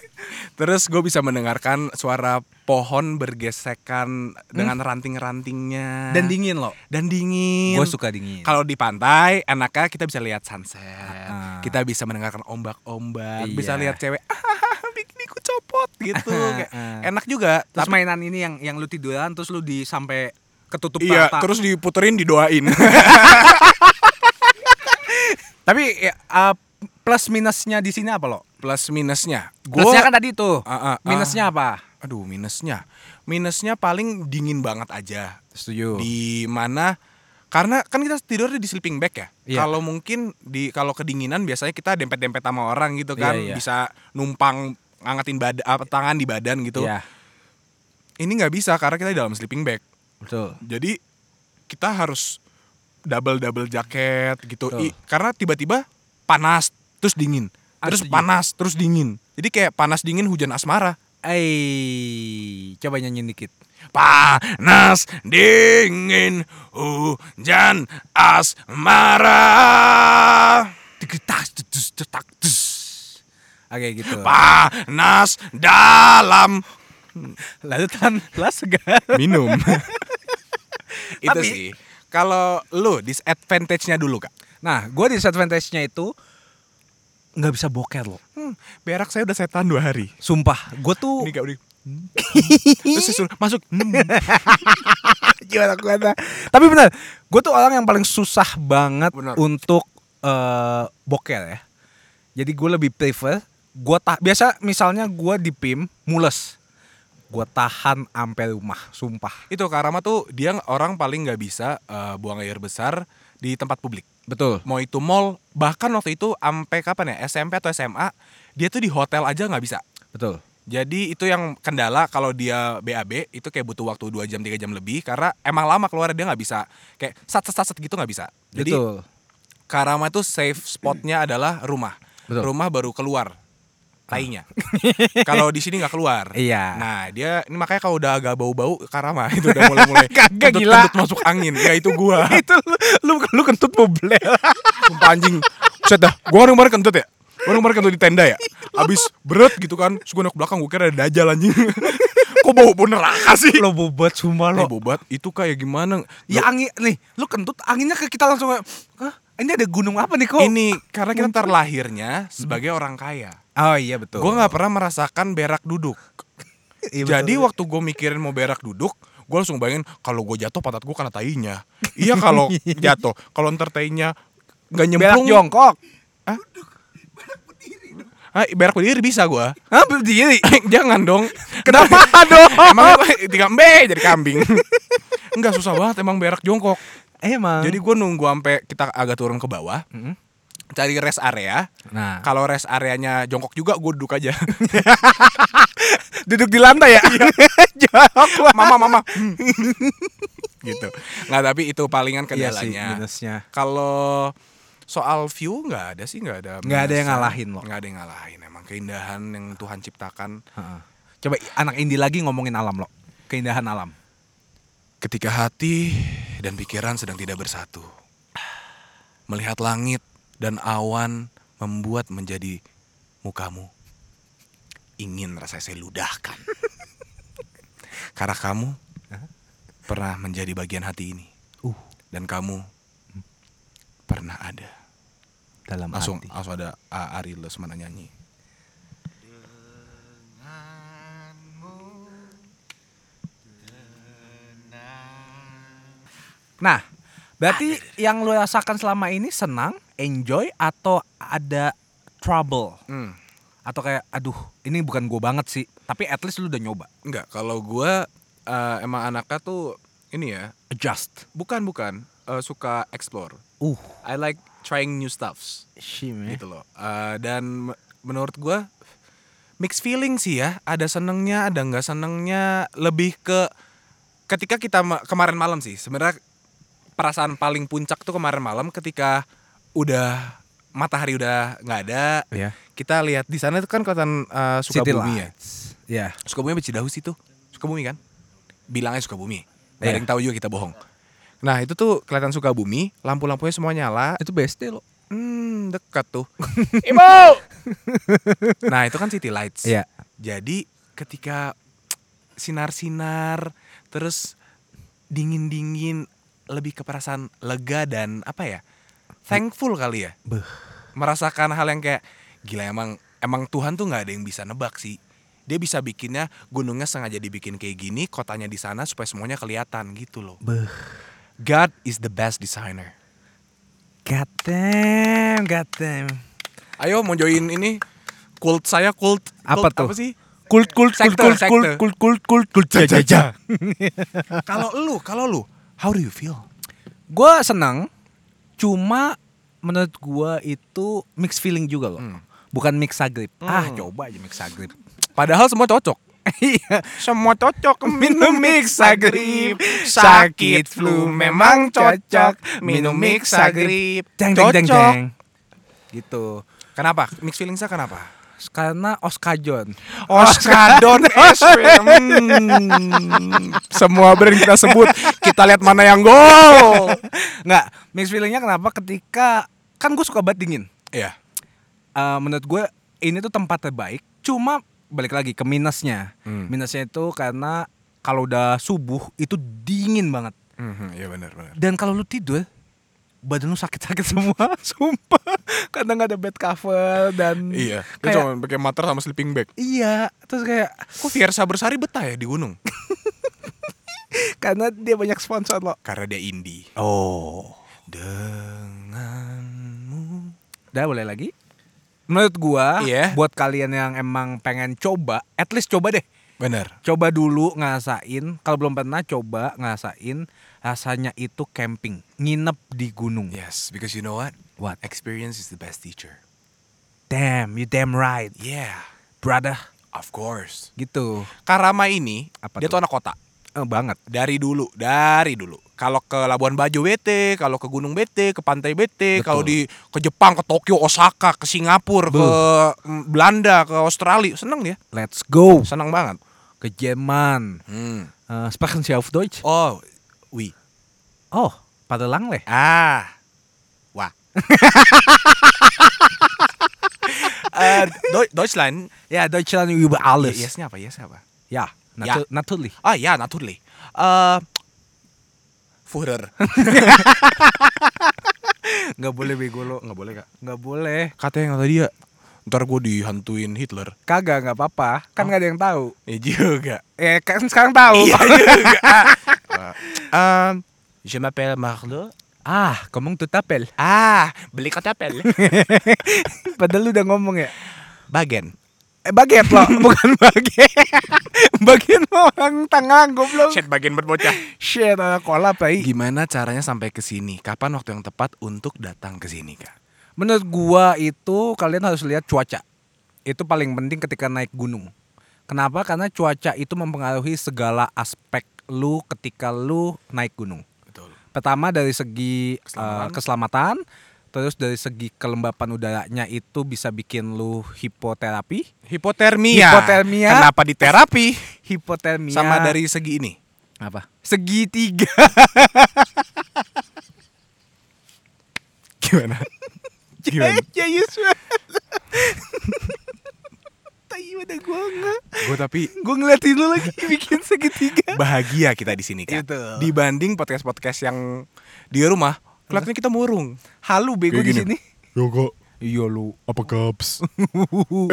Speaker 1: Terus gue bisa mendengarkan suara pohon bergesekan dengan ranting-rantingnya.
Speaker 2: Dan dingin loh.
Speaker 1: Hmm? Dan dingin.
Speaker 2: Gue suka dingin.
Speaker 1: Kalau di pantai, enaknya kita bisa lihat sunset.
Speaker 2: Ah.
Speaker 1: Kita bisa mendengarkan ombak-ombak, bisa
Speaker 2: Iya.
Speaker 1: lihat cewek ah, bikiniku copot gitu. Kayak,
Speaker 2: Ah.
Speaker 1: enak juga.
Speaker 2: Terus mainan ini yang yang lu tiduran terus lu di sampai ketutup
Speaker 1: Iya,
Speaker 2: mata.
Speaker 1: terus diputerin didoain.
Speaker 2: Tapi ya, uh, plus minusnya di sini apa lo?
Speaker 1: Plus minusnya,
Speaker 2: Plusnya
Speaker 1: gua
Speaker 2: kan tadi tuh.
Speaker 1: Ah, ah, ah.
Speaker 2: minusnya apa?
Speaker 1: aduh minusnya. Minusnya paling dingin banget aja.
Speaker 2: Setuju.
Speaker 1: Di mana karena kan kita tidurnya di sleeping bag ya.
Speaker 2: Iya.
Speaker 1: Kalau mungkin di kalau kedinginan biasanya kita dempet-dempet sama orang gitu kan,
Speaker 2: Iya, iya.
Speaker 1: bisa numpang ngangetin bad- apa, tangan di badan gitu.
Speaker 2: Iya,
Speaker 1: Ini nggak bisa karena kita di dalam sleeping bag.
Speaker 2: betul.
Speaker 1: Jadi kita harus double double jaket gitu.
Speaker 2: Betul.
Speaker 1: I- karena tiba-tiba panas terus dingin,
Speaker 2: Ah,
Speaker 1: terus
Speaker 2: setuju.
Speaker 1: panas terus dingin. Jadi kayak panas dingin hujan asmara.
Speaker 2: Eh, coba nyanyi dikit.
Speaker 1: Panas dingin hujan asmara.
Speaker 2: Tegetas, tetus, tetak, tes. Oke gitu.
Speaker 1: Panas dalam
Speaker 2: Lalu tan, lah segar.
Speaker 1: minum. Itu
Speaker 2: Tapi-
Speaker 1: sih. Kalau lu disadvantage-nya dulu, Kak.
Speaker 2: Nah, gue disadvantage-nya itu nggak bisa boker loh.
Speaker 1: Hmm, berak saya udah setan dua hari.
Speaker 2: Sumpah, gue tuh
Speaker 1: Ini Kak udah. Terus disuruh masuk. Hmm.
Speaker 2: Gimana kuatnya? Tapi benar, gue tuh orang yang paling susah banget
Speaker 1: Benar.
Speaker 2: untuk eh, boker ya. Jadi gue lebih prefer gue tak biasa misalnya gue di PIM mules, gue tahan sampai rumah, sumpah.
Speaker 1: Itu Kak Rama tuh dia orang paling nggak bisa eh, buang air besar di tempat publik.
Speaker 2: Betul.
Speaker 1: Mau itu mall, bahkan waktu itu sampai kapan ya? SMP atau SMA, dia tuh di hotel aja nggak bisa.
Speaker 2: Betul.
Speaker 1: Jadi itu yang kendala kalau dia BAB itu kayak butuh waktu 2 jam 3 jam lebih karena emang lama keluar dia nggak bisa kayak sat sat sat, sat gitu nggak bisa. Jadi
Speaker 3: Betul.
Speaker 1: Karama itu safe spotnya adalah rumah.
Speaker 3: Betul. Ah.
Speaker 1: Rumah baru keluar lainnya. kalau di sini nggak keluar.
Speaker 2: Iya.
Speaker 1: Nah dia ini makanya kalau udah agak bau-bau Karama itu udah mulai-mulai
Speaker 3: Kagak,
Speaker 1: kentut-
Speaker 3: gila.
Speaker 1: kentut masuk angin. Ya itu gua.
Speaker 3: itu lu, lu lu kentut mau belel.
Speaker 1: Sumpah anjing. Set dah. Gua kan kemarin kentut ya. Gua kan kemarin kentut di tenda ya. Abis beret gitu kan. Terus gua nengok ke belakang gua kira ada dajal anjing. Kok bau bau neraka sih?
Speaker 3: lo bobat sumpah
Speaker 1: Eh,
Speaker 3: lo.
Speaker 1: bobat itu kayak gimana?
Speaker 2: Ya angin nih, lu kentut anginnya ke kita langsung kayak, Hah? Ini ada gunung apa nih kok?
Speaker 1: ini karena kita terlahirnya sebagai orang kaya.
Speaker 2: Hmm. Oh Iya, iya betul.
Speaker 1: Gua nggak pernah merasakan berak duduk. Jadi waktu gue mikirin mau berak duduk, gue langsung bayangin kalau gue jatuh pantat gue kena tainya. Iya kalau jatuh, kalau ntar tainya nggak
Speaker 3: belak
Speaker 1: nyemplung,
Speaker 3: jongkok.
Speaker 1: ah, berak berdiri bisa gue.
Speaker 2: Hah, berdiri.
Speaker 1: Jangan dong.
Speaker 3: Ah, Kenapa dong?
Speaker 1: emang gue tiga mbe jadi kambing. Enggak susah banget emang berak jongkok.
Speaker 3: Emang.
Speaker 1: Jadi gue nunggu sampai kita agak turun ke bawah, cari rest area.
Speaker 2: Nah,
Speaker 1: Kalau rest areanya jongkok juga gue duduk aja.
Speaker 3: duduk di lantai ya. Jongkok lah.
Speaker 1: mama mama. Hmm. gitu. Nggak tapi itu palingan
Speaker 3: Iya sih,
Speaker 1: kendalanya.
Speaker 3: minusnya.
Speaker 1: Kalau soal view nggak ada sih nggak ada
Speaker 3: Nggak ada yang
Speaker 1: minusnya.
Speaker 3: ngalahin loh.
Speaker 1: nggak ada yang ngalahin emang keindahan yang Tuhan ciptakan
Speaker 2: Heeh. Coba anak Indi lagi ngomongin alam lo. Keindahan alam.
Speaker 1: ketika hati dan pikiran sedang tidak bersatu melihat langit dan awan membuat menjadi mukamu ingin rasanya saya ludahkan karena kamu pernah menjadi bagian hati ini
Speaker 2: Uh.
Speaker 1: dan kamu pernah ada
Speaker 2: Dalam
Speaker 1: langsung
Speaker 2: hati.
Speaker 1: langsung ada A- Ari Lesmana nyanyi
Speaker 2: Nah, berarti yang lo rasakan selama ini senang, enjoy atau ada trouble
Speaker 1: Hmm,
Speaker 2: atau kayak aduh, ini bukan gue banget sih, tapi at least lu udah nyoba.
Speaker 1: Enggak, kalau gua eh, emang anaknya tuh ini ya,
Speaker 2: Adjust.
Speaker 1: bukan bukan eh, suka explore.
Speaker 2: Uh,
Speaker 1: I like trying new stuffs gitu loh. Eh, dan me- menurut gua mixed feeling sih ya, ada senengnya, ada nggak senengnya, lebih ke ketika kita ma- kemarin malam sih. Sebenarnya perasaan paling puncak tuh kemarin malam ketika udah matahari udah nggak ada.
Speaker 3: Ya.
Speaker 2: Iya.
Speaker 1: Kita lihat di sana itu kan kelihatan eh, Sukabumi ya.
Speaker 2: Ya.
Speaker 1: Sukabumi apa Cidahu sih tuh? Sukabumi kan? Bilangnya Sukabumi. Gak ada yang tahu juga kita bohong. Nah itu tuh kelihatan Sukabumi, lampu-lampunya semua nyala.
Speaker 2: Itu BSD lo.
Speaker 1: Hmm, dekat tuh. Ibu! nah itu kan city lights.
Speaker 2: Iya.
Speaker 1: Jadi ketika sinar-sinar, terus dingin-dingin, lebih ke perasaan lega dan apa ya, thankful kali ya.
Speaker 2: Beh.
Speaker 1: Merasakan hal yang kayak, gila emang emang Tuhan tuh nggak ada yang bisa nebak sih. Dia bisa bikinnya gunungnya sengaja dibikin kayak gini, kotanya di sana supaya semuanya kelihatan gitu loh.
Speaker 2: Beh.
Speaker 1: God is the best designer.
Speaker 2: God damn, god damn.
Speaker 1: Ayo mau join ini kult saya kult
Speaker 2: Apa
Speaker 1: cult
Speaker 2: tuh?
Speaker 1: Apa sih?
Speaker 3: Kult kult kult kult
Speaker 1: Sektor,
Speaker 3: kult
Speaker 1: sektor.
Speaker 3: kult kult kult kult jajaja.
Speaker 1: kalau lu, kalau lu, how do you feel?
Speaker 2: Gue senang, cuma menurut gue itu mix feeling juga
Speaker 1: Hmm.
Speaker 2: loh. Bukan mix agrip. Ah, coba aja mix agrip.
Speaker 1: Padahal semua cocok.
Speaker 2: Iya.
Speaker 1: Semua cocok
Speaker 2: Minum Mixagrip. Sakit flu memang cocok. Minum Mixagrip. Deng, deng, deng,
Speaker 1: Cocok.
Speaker 2: deng. Gitu.
Speaker 1: Kenapa? Mix feeling saya kenapa?
Speaker 2: Karena Oscar John.
Speaker 1: Oskadon Hmm. Semua brand kita sebut Kita lihat mana yang gol
Speaker 2: Nggak, mix feelingnya kenapa ketika... Kan gue suka banget dingin.
Speaker 1: Iya
Speaker 2: Eh, menurut gue ini tuh tempat terbaik. Cuma balik lagi ke minusnya.
Speaker 1: Hmm.
Speaker 2: Minusnya itu karena kalau udah subuh itu dingin banget.
Speaker 1: Mhm, Iya benar benar
Speaker 2: Dan kalau lu tidur badan lu sakit-sakit semua, sumpah. Karena nggak ada bed cover dan
Speaker 1: Iya Lu
Speaker 2: kayak-
Speaker 1: cuma pakai mater sama sleeping bag
Speaker 2: iya. Terus kayak
Speaker 1: Kok Fiersa Bersari betah ya di gunung?
Speaker 2: karena dia banyak sponsor lo.
Speaker 1: Karena dia indie
Speaker 2: Oh.
Speaker 1: Denganmu
Speaker 2: Udah boleh lagi? Menurut gua
Speaker 1: Iya.
Speaker 2: buat kalian yang emang pengen coba, at least coba deh.
Speaker 1: Bener
Speaker 2: Coba dulu ngasain, kalau belum pernah coba ngasain rasanya itu camping, nginep di gunung.
Speaker 1: Yes, because you know what?
Speaker 2: What?
Speaker 1: Experience is the best teacher
Speaker 2: Damn, you damn right,
Speaker 1: Yeah
Speaker 2: brother.
Speaker 1: Of course.
Speaker 2: gitu
Speaker 1: Karama ini
Speaker 2: Apa
Speaker 1: dia
Speaker 2: tuh?
Speaker 1: tuh anak kota.
Speaker 2: Eh, banget
Speaker 1: Dari dulu, dari dulu. Kalau ke Labuan Bajo bete, kalau ke gunung bete, ke pantai bete,
Speaker 2: Betul.
Speaker 1: kalau di ke Jepang, ke Tokyo, Osaka, ke Singapura, ke mm, Belanda, ke Australia, seneng dia.
Speaker 2: let's go
Speaker 1: Seneng banget.
Speaker 2: ke Jerman
Speaker 1: Hmm.
Speaker 2: Eh, Sprachen Sie auf Deutsch
Speaker 1: Oh, wi.
Speaker 2: oh pada langleh
Speaker 1: Ah. Wah. Eh, Deu- Deutschland.
Speaker 2: ya Deutschland über alles
Speaker 1: Yes- Yesnya apa? Yes apa?
Speaker 2: ya natu- naturally
Speaker 1: Ah ja, natürlich. Eh Führer.
Speaker 2: nggak boleh bego lo
Speaker 1: Nggak boleh kak.
Speaker 2: nggak boleh
Speaker 1: Katanya ya, kata dia, ntar gue dihantuin Hitler.
Speaker 2: kagak nggak apa-apa kan nggak ada yang tahu
Speaker 1: Ya juga.
Speaker 2: eh kan sekarang tahu iya. Eh,
Speaker 1: Um, je m'appelle Marlo.
Speaker 2: ah ngomong tuh tapel
Speaker 1: Ah, beli ketapel.
Speaker 2: padahal lu udah ngomong ya
Speaker 1: Bagen.
Speaker 2: eh baget lo bukan baget bagian orang tangan goblok
Speaker 1: Shit, bagen buat bocah.
Speaker 2: shit anak kolap ay.
Speaker 1: Gimana caranya sampai ke sini? Kapan waktu yang tepat untuk datang ke sini, Kak?
Speaker 2: Menurut gua itu kalian harus lihat cuaca. Itu paling penting ketika naik gunung. Kenapa? Karena cuaca itu mempengaruhi segala aspek lu ketika lu naik gunung.
Speaker 1: Betul.
Speaker 2: Pertama dari segi eh,
Speaker 1: Keselamatan.
Speaker 2: keselamatan, terus dari segi kelembapan udaranya itu bisa bikin lu hipoterapi,
Speaker 1: Hipotermia.
Speaker 2: Hipotermia.
Speaker 1: Kenapa di terapi?
Speaker 2: hipotermia
Speaker 1: Sama dari segi ini.
Speaker 2: apa? Segitiga.
Speaker 1: Gimana? Gimana?
Speaker 2: ya Yusuf. Tai udah gua nggak.
Speaker 1: gue tapi
Speaker 2: Gue ngeliatin lu lagi bikin segitiga.
Speaker 1: bahagia kita di sini, Kak.
Speaker 2: Gitu.
Speaker 1: Dibanding podcast-podcast yang di rumah, kelihatannya kita murung.
Speaker 2: Halu bego
Speaker 4: Kayak
Speaker 2: di
Speaker 4: gini.
Speaker 2: sini.
Speaker 4: Yo kok,
Speaker 2: Iya lu.
Speaker 4: apa kaps?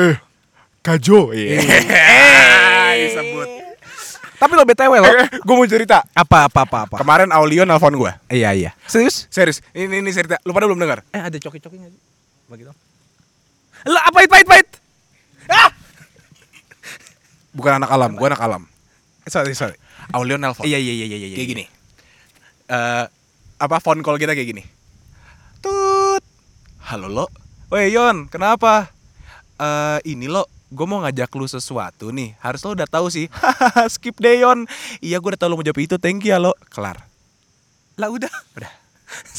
Speaker 4: eh, kajo. Iya.
Speaker 1: disebut.
Speaker 2: Eh, Tapi lo BTW lo.
Speaker 1: gue mau cerita.
Speaker 2: Apa apa apa apa.
Speaker 1: Kemarin Aulio nelfon gue.
Speaker 2: iya iya. Serius?
Speaker 1: Serius, ini ini cerita. Lu pada belum dengar?
Speaker 2: Eh ada coki-coki enggak sih? Bagi dong. Lo apa itu pahit pahit?
Speaker 1: Bukan anak alam, gue anak alam.
Speaker 2: Sorry sorry.
Speaker 1: Aulio nelfon.
Speaker 2: Iya iya iya iya iya.
Speaker 1: Oh. Kayak gini. Eh apa phone call kita kayak gini? Tut. Halo lo. Woi Yon, kenapa? Eh ini lo, gue mau ngajak lu sesuatu nih. Harus lo udah tahu sih. Hahaha, Skip deh Yon. Iya gue udah tahu lo mau jawab itu. Thank you ya lo. Kelar.
Speaker 2: Lah udah.
Speaker 1: Udah.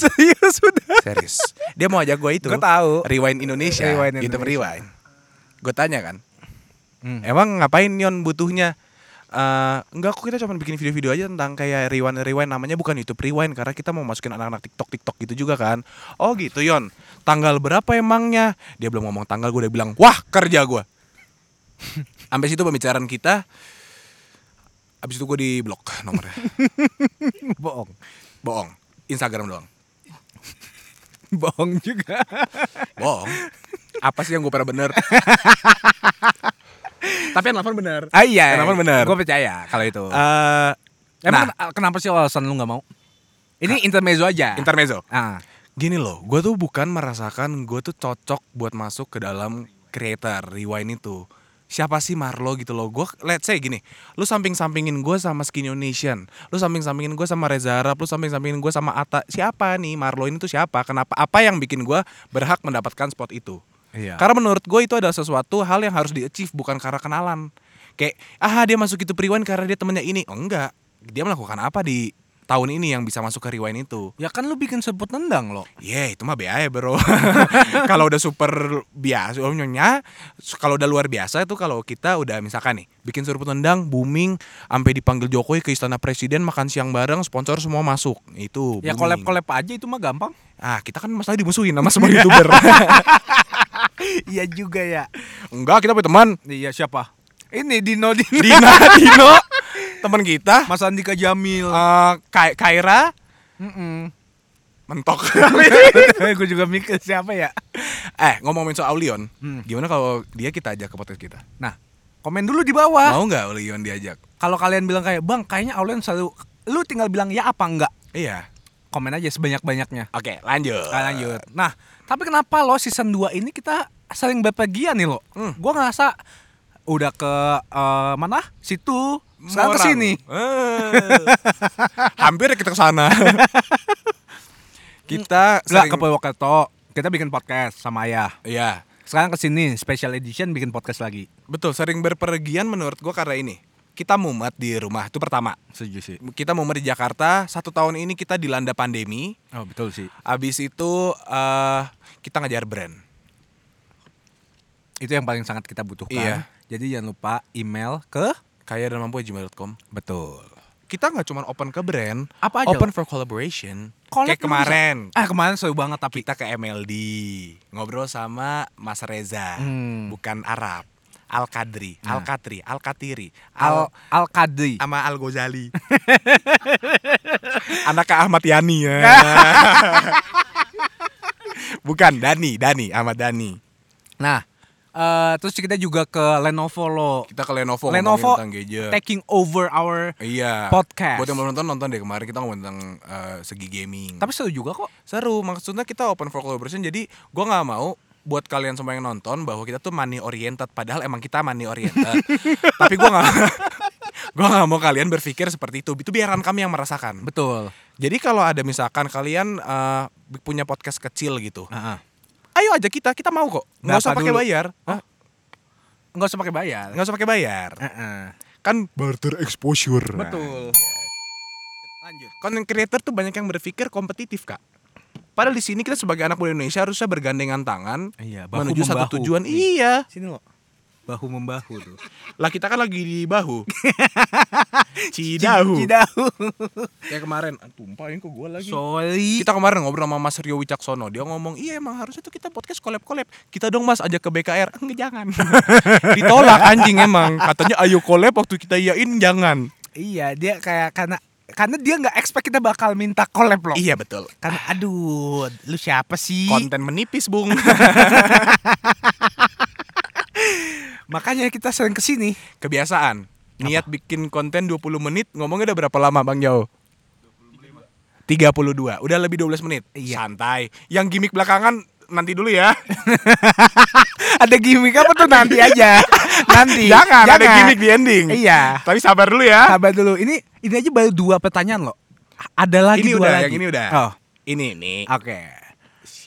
Speaker 2: Serius udah.
Speaker 1: Serius. Dia mau ajak gue itu.
Speaker 2: Gua tahu.
Speaker 1: Rewind Indonesia.
Speaker 2: Rewind
Speaker 1: Rewind
Speaker 2: Indonesia.
Speaker 1: rewind. Gue tanya kan.
Speaker 2: Hmm.
Speaker 1: Emang ngapain Yon butuhnya? Eh, enggak kok kita cuma bikin video-video aja tentang kayak rewind rewind namanya bukan YouTube rewind karena kita mau masukin anak-anak TikTok TikTok gitu juga kan. Oh gitu Yon. Tanggal berapa emangnya? Dia belum ngomong tanggal gue udah bilang, "Wah, kerja gue." Sampai situ pembicaraan kita Abis itu gue di blok nomornya
Speaker 2: Bohong.
Speaker 1: Bohong Instagram doang
Speaker 2: Bohong juga.
Speaker 1: Bohong Apa sih yang gue pernah bener Tapi yang nelfon bener
Speaker 2: Ah iya.
Speaker 1: Kenapa benar?
Speaker 2: Gue percaya kalau itu.
Speaker 1: Eh,
Speaker 2: Emang
Speaker 1: nah,
Speaker 2: ken- kenapa sih alasan lu nggak mau? Ini intermezzo aja.
Speaker 1: intermezzo.
Speaker 2: ah.
Speaker 1: Gini loh, gue tuh bukan merasakan gue tuh cocok buat masuk ke dalam creator rewind itu. Siapa sih Marlo gitu loh? Gue let's say gini, lu samping-sampingin gue sama Skinny Nation, lu samping-sampingin gue sama Reza Arab, lu samping-sampingin gue sama Ata. Siapa nih Marlo ini tuh siapa? Kenapa? Apa yang bikin gue berhak mendapatkan spot itu?
Speaker 2: Iya.
Speaker 1: Karena menurut gue itu adalah sesuatu hal yang harus di-achieve bukan karena kenalan. Kayak, ah dia masuk itu rewind karena dia temennya ini. Enggak, dia melakukan apa di tahun ini yang bisa masuk ke rewind itu?
Speaker 2: Ya kan lu bikin sebut nendang lo.
Speaker 1: Ya itu mah BA ya bro Kalau udah super biasa umumnya Kalau udah luar biasa itu kalau kita udah misalkan nih Bikin surput tendang, booming Sampai dipanggil Jokowi ke istana presiden Makan siang bareng, sponsor semua masuk Itu booming.
Speaker 2: Ya collab-collab aja itu mah gampang.
Speaker 1: Ah kita kan masalah dimusuhin sama semua youtuber
Speaker 2: Iya juga ya.
Speaker 1: Enggak kita punya teman
Speaker 2: Iya siapa? Ini Dino Dino.
Speaker 1: Dina, Dino Teman kita
Speaker 2: Mas Andika Jamil.
Speaker 1: eh, Kai- Kaira Mentok
Speaker 2: gue juga mikir siapa ya.
Speaker 1: Eh ngomongin soal Aulion
Speaker 2: Hmm.
Speaker 1: Gimana kalau dia kita ajak ke podcast kita
Speaker 2: Nah, komen dulu di bawah.
Speaker 1: Mau nggak Aulion diajak?
Speaker 2: Kalau kalian bilang kayak Bang, kayaknya Aulen selalu lu tinggal bilang ya apa enggak.
Speaker 1: Iya
Speaker 2: Komen aja sebanyak-banyaknya.
Speaker 1: Oke lanjut
Speaker 2: Nah, lanjut. Nah, tapi kenapa lo season 2 ini kita saling berpergian nih lo?
Speaker 1: Hmm.
Speaker 2: Gua ngerasa udah ke eh, mana? Situ, sekarang ke
Speaker 1: Morang.
Speaker 2: sini.
Speaker 1: Eh. Hampir kita ke sana. kita
Speaker 2: Enggak
Speaker 1: sering
Speaker 2: ke Purwokerto. Kita bikin podcast sama ayah.
Speaker 1: Iya.
Speaker 2: Sekarang kesini special edition bikin podcast lagi.
Speaker 1: Betul, sering berpergian menurut gua karena ini. Kita mumet di rumah, itu pertama.
Speaker 2: Setuju sih.
Speaker 1: Kita mumet di Jakarta, satu tahun ini kita dilanda pandemi.
Speaker 2: Oh betul sih.
Speaker 1: Abis itu eh kita ngejar brand.
Speaker 2: Itu yang paling sangat kita butuhkan.
Speaker 1: Iya.
Speaker 2: Jadi jangan lupa email ke
Speaker 1: Kaya dan mampu gmail.com.
Speaker 2: betul.
Speaker 1: Kita nggak cuma open ke brand,
Speaker 2: Apa aja?
Speaker 1: open for collaboration. Kayak
Speaker 2: Collab juga
Speaker 1: kemarin
Speaker 2: Ah kemarin seru banget tapi.
Speaker 1: kita ke MLD ngobrol sama Mas Reza,
Speaker 2: Hmm. Nah.
Speaker 1: bukan Arab. Al Kadri, Al Katri, Al Katiri,
Speaker 2: Al
Speaker 1: Al
Speaker 2: Al Kadri.
Speaker 1: sama Al Ghazali. Anak Ahmad Yani ya. Bukan Dani, Dani Ahmad Dani.
Speaker 2: Nah, eh, terus kita juga ke Lenovo lo.
Speaker 1: Kita ke Lenovo,
Speaker 2: Lenovo
Speaker 1: ngomongin tentang gadget.
Speaker 2: taking over our
Speaker 1: Iya.
Speaker 2: podcast.
Speaker 1: Buat yang belum nonton nonton deh kemarin kita ngomongin tentang eh, segi gaming.
Speaker 2: tapi seru juga kok.
Speaker 1: seru maksudnya kita open for collaboration jadi gua nggak mau buat kalian semua yang nonton bahwa kita tuh money oriented padahal emang kita money oriented tapi gua nggak gua nggak mau kalian berpikir seperti itu itu biarkan kami yang merasakan
Speaker 2: Betul.
Speaker 1: jadi kalau ada misalkan kalian eh, punya podcast kecil gitu
Speaker 2: Heeh.
Speaker 1: ayo aja kita kita mau kok nggak
Speaker 2: Berapa
Speaker 1: usah pakai
Speaker 2: dulu?
Speaker 1: bayar Hah?
Speaker 2: Enggak usah pakai bayar.
Speaker 1: nggak usah pakai bayar
Speaker 2: Heeh.
Speaker 1: kan
Speaker 4: Barter exposure.
Speaker 2: Betul. Nah, iya. Lanjut.
Speaker 1: content creator tuh banyak yang berpikir kompetitif kak padahal di sini kita sebagai anak muda Indonesia harusnya bergandengan tangan
Speaker 2: Iya, bahu
Speaker 1: menuju
Speaker 2: membahu.
Speaker 1: satu tujuan
Speaker 2: Nih,
Speaker 1: iya
Speaker 2: Sini lo. Bahu membahu tuh.
Speaker 1: Lah kita kan lagi di bahu. Cidahu.
Speaker 2: Cidahu.
Speaker 1: Kayak kemarin ah, tumpahin ke gua lagi.
Speaker 2: Sorry.
Speaker 1: kita kemarin ngobrol sama Mas Rio Wicaksono, dia ngomong, "Iya emang harusnya tuh kita podcast collab-collab. Kita dong Mas ajak ke BKR." Enggak jangan. Ditolak anjing emang. Katanya ayo collab waktu kita iyain jangan.
Speaker 2: Iya, dia kayak karena karena dia nggak expect kita bakal minta collab loh.
Speaker 1: Iya betul.
Speaker 2: Karena aduh, lu siapa sih?
Speaker 1: Konten menipis, Bung.
Speaker 2: Makanya kita sering kesini.
Speaker 1: Kebiasaan. Niat bikin konten 20 menit, ngomongnya udah berapa lama, Bang Jauh? 32. Udah lebih 12 menit.
Speaker 2: Iya.
Speaker 1: Santai. Yang gimmick belakangan nanti dulu ya.
Speaker 2: Ada gimmick apa tuh nanti aja. nanti.
Speaker 1: jangan, ada gimmick di ending.
Speaker 2: Iya.
Speaker 1: Tapi sabar dulu ya.
Speaker 2: Sabar dulu. Ini ini aja baru dua pertanyaan loh. Ada lagi
Speaker 1: ini
Speaker 2: dua
Speaker 1: udah,
Speaker 2: lagi.
Speaker 1: yang ini udah.
Speaker 2: Oh,
Speaker 1: Ini ini.
Speaker 2: oke.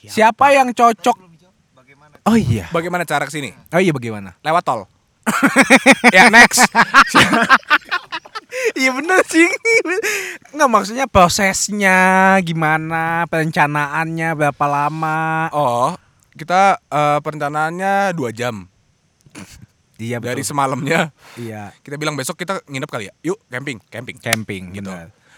Speaker 2: Siapa? yang cocok? Oh iya.
Speaker 1: Bagaimana cara ke sini?
Speaker 2: Oh iya bagaimana?
Speaker 1: Lewat tol. ya next.
Speaker 2: Iya bener sih Nggak maksudnya prosesnya Gimana Perencanaannya Berapa lama
Speaker 1: Oh, kita eh, perencanaannya dua jam
Speaker 2: Iya betul
Speaker 1: dari semalamnya.
Speaker 2: Iya
Speaker 1: Kita bilang besok kita nginep kali ya. Yuk camping, camping.
Speaker 2: Camping
Speaker 1: Gitu.
Speaker 2: gitu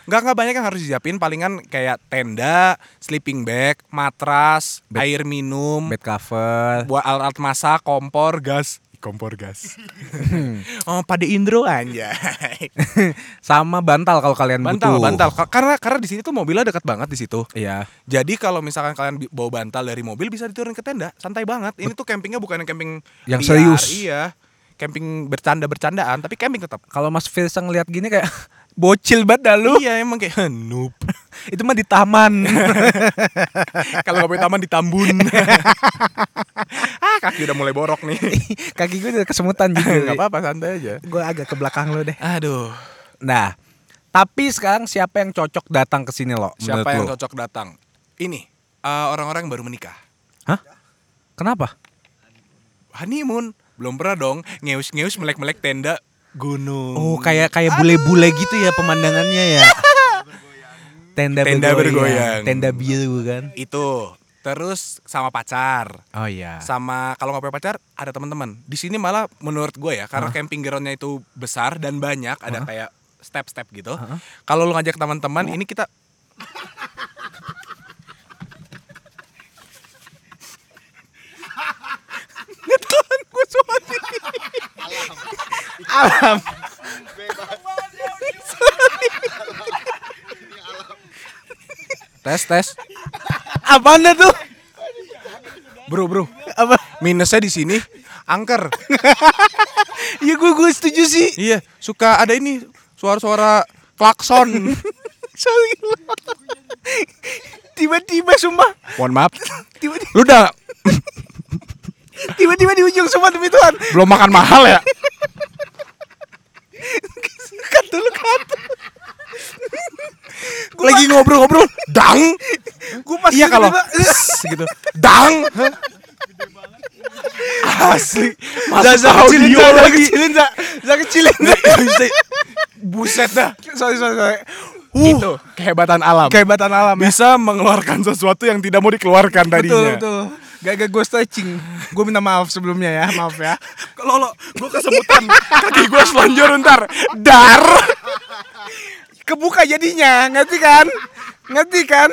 Speaker 1: Nggak nggak banyak yang harus disiapin. Palingan kayak tenda, sleeping bag, matras,
Speaker 2: Bed-
Speaker 1: air minum,
Speaker 2: Bed cover
Speaker 1: buat alat masak, kompor, gas.
Speaker 4: Kompor gas.
Speaker 1: Oh, pada Indro aja.
Speaker 2: Sama bantal kalau kalian
Speaker 1: bantal,
Speaker 2: butuh
Speaker 1: bantal. Ka- Karena karena di sini tuh mobilnya dekat banget di situ.
Speaker 2: Iya
Speaker 1: Jadi kalau misalkan kalian bi- bawa bantal dari mobil bisa diturun ke tenda, santai banget. Ini tuh campingnya bukan yang camping
Speaker 2: Yang
Speaker 1: liar,
Speaker 2: serius.
Speaker 1: Iya. Camping bercanda-bercandaan, tapi camping tetap.
Speaker 2: Kalau Mas Firsa ngeliat gini kayak Bocil banget dah lu
Speaker 1: Iya, emang kayak noob.
Speaker 2: Itu mah di taman
Speaker 1: kalau nggak punya taman di Tambun. ah, kaki udah mulai borok nih.
Speaker 2: Kaki gue udah kesemutan
Speaker 1: Enggak
Speaker 2: juga
Speaker 1: apa-apa, santai aja.
Speaker 2: Gue agak ke belakang lu deh
Speaker 1: Aduh,
Speaker 2: Nah Tapi sekarang siapa yang cocok datang ke sini lo
Speaker 1: siapa
Speaker 2: menurut
Speaker 1: yang
Speaker 2: lo?
Speaker 1: cocok datang? Ini eh, orang-orang yang baru menikah.
Speaker 2: Hah? Kenapa?
Speaker 1: Honeymoon, belum pernah dong ngeus-ngeus melek-melek tenda gunung.
Speaker 2: Oh kayak kayak bule-bule gitu ya pemandangannya ya. Tenda,
Speaker 1: Tenda bergoyang.
Speaker 2: Tenda biru kan.
Speaker 1: Itu. Terus sama pacar.
Speaker 2: Oh iya.
Speaker 1: sama kalau nggak punya pacar ada teman-teman di sini malah menurut gue ya karena camping groundnya itu besar dan banyak ada kayak step-step gitu kalau lu ngajak teman-teman ini kita
Speaker 2: Ngetelan gue sama sini. Alam.
Speaker 1: tes tes
Speaker 2: Apaan dah tuh?
Speaker 1: bro bro
Speaker 2: Apa?
Speaker 1: minusnya di sini angker
Speaker 2: Ya gue gue setuju sih.
Speaker 1: iya suka ada ini suara-suara klakson
Speaker 2: Sorry. Tiba-tiba sumpah.
Speaker 1: mohon maaf
Speaker 2: Tiba-tiba
Speaker 1: lu udah
Speaker 2: tiba-tiba di ujung sumpah demi Tuhan.
Speaker 1: belum makan mahal ya
Speaker 2: Cut dulu cut.
Speaker 1: lagi ngobrol-ngobrol dang
Speaker 2: Gue pas
Speaker 1: iya kalau
Speaker 2: tiba-tiba-
Speaker 1: gitu dang Asli.
Speaker 5: Masuk
Speaker 1: Zaza kecilin,
Speaker 2: audio
Speaker 1: Zaza
Speaker 2: lagi.
Speaker 1: kecilin, Zaza.
Speaker 2: Saya kecilin.
Speaker 1: Buset dah.
Speaker 2: Sorry, sorry, sorry.
Speaker 1: Uh,
Speaker 2: Itu kehebatan alam. Kehebatan alam ya.
Speaker 1: Bisa mengeluarkan sesuatu yang tidak mau dikeluarkan
Speaker 2: Betul,
Speaker 1: tadinya.
Speaker 2: betul. Gak gue stretching. Gue minta maaf sebelumnya ya, maaf ya.
Speaker 1: Kalau lo, gue kesemutan. Kaki gue selonjor ntar. Dar.
Speaker 2: Kebuka jadinya, ngerti kan? Ngerti kan?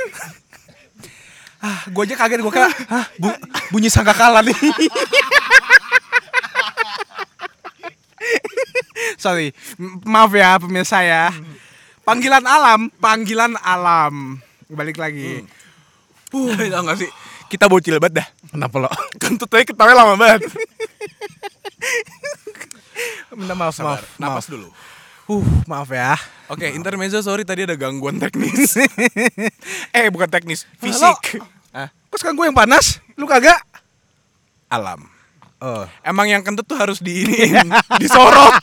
Speaker 2: Ah, gue aja kaget gue kira, hah, bu- bunyi sangkakala nih. Sorry, M- maaf ya pemirsa ya. Panggilan alam, panggilan alam. Balik lagi.
Speaker 1: Hmm. Tapi tau gak sih? Kita bocil banget dah. Kenapa lo? Kentut aja ketawa lama banget.
Speaker 2: Minta maaf, maaf, maaf.
Speaker 1: Napas dulu.
Speaker 2: Uh, maaf ya.
Speaker 1: Oke, intermezzo sorry tadi ada gangguan teknis. eh, bukan teknis, fisik.
Speaker 2: Ah, kok sekarang gue yang panas? Lu kagak?
Speaker 1: Alam.
Speaker 2: Oh,
Speaker 1: Emang yang kentut tuh harus di disorot.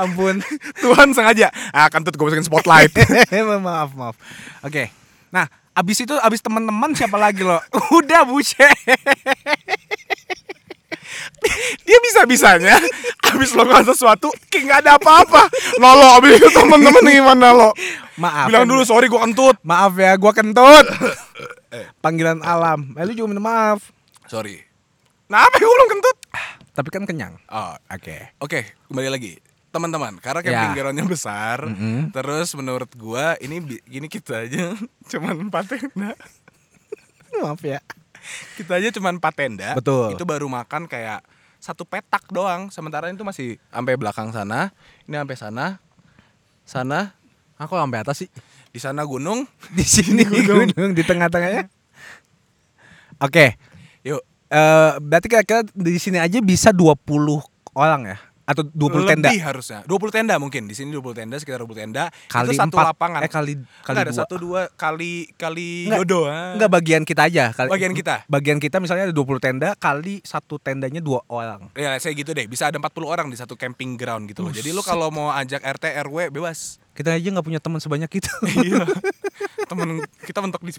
Speaker 2: ampun.
Speaker 1: Tuhan sengaja. Ah, kentut gue masukin spotlight.
Speaker 2: maaf, maaf. Oke. Nah, abis itu abis teman-teman siapa lagi lo? Udah buce.
Speaker 1: Dia bisa-bisanya abis lo ngelakuin sesuatu kayak nggak ada apa-apa. Lolo abis itu temen-temen gimana lo?
Speaker 2: Maaf.
Speaker 1: Bilang dulu sorry gue kentut.
Speaker 2: Maaf ya, gua kentut. Panggilan alam. Eh, lu juga minta maaf.
Speaker 1: Sorry. Nah, apa gue belum kentut?
Speaker 2: Tapi kan kenyang.
Speaker 1: Oh,
Speaker 2: Oke.
Speaker 1: Oke, kembali lagi. Teman-teman, karena camping
Speaker 2: Ya.
Speaker 1: groundnya besar, terus menurut gua ini bi- gini kita aja cuman empat tenda.
Speaker 2: Maaf ya.
Speaker 1: Kita aja cuman empat tenda.
Speaker 2: Betul.
Speaker 1: Itu baru makan kayak satu petak doang. Sementara itu masih sampai belakang sana, ini sampai sana, sana,
Speaker 5: Aku sampai atas sih.
Speaker 1: di sana gunung.
Speaker 2: Di sini gunung, di tengah-tengahnya. Oke.
Speaker 1: Yuk,
Speaker 2: Eh, berarti kira-kira di sini aja bisa 20 orang ya atau 20 tenda.
Speaker 1: lebih harusnya. 20 tenda mungkin. Di sini 20 tenda, sekitar 20 tenda. itu satu
Speaker 2: empat.
Speaker 1: lapangan.
Speaker 2: Eh kali kali
Speaker 1: Nggak ada
Speaker 2: dua.
Speaker 1: satu dua kali kali
Speaker 2: Nggak,
Speaker 1: yodo.
Speaker 2: Enggak bagian kita aja
Speaker 1: Iya,
Speaker 2: kali.
Speaker 1: ah. Bagian kita?
Speaker 2: Bagian kita misalnya ada 20 tenda kali satu tendanya dua orang.
Speaker 1: Ya, saya gitu deh. Bisa ada 40 orang di satu camping ground gitu loh. Jadi lu kalau mau ajak RT RW bebas.
Speaker 2: Kita aja nggak punya teman sebanyak itu.
Speaker 1: Iya. Temen kita mentok di 10.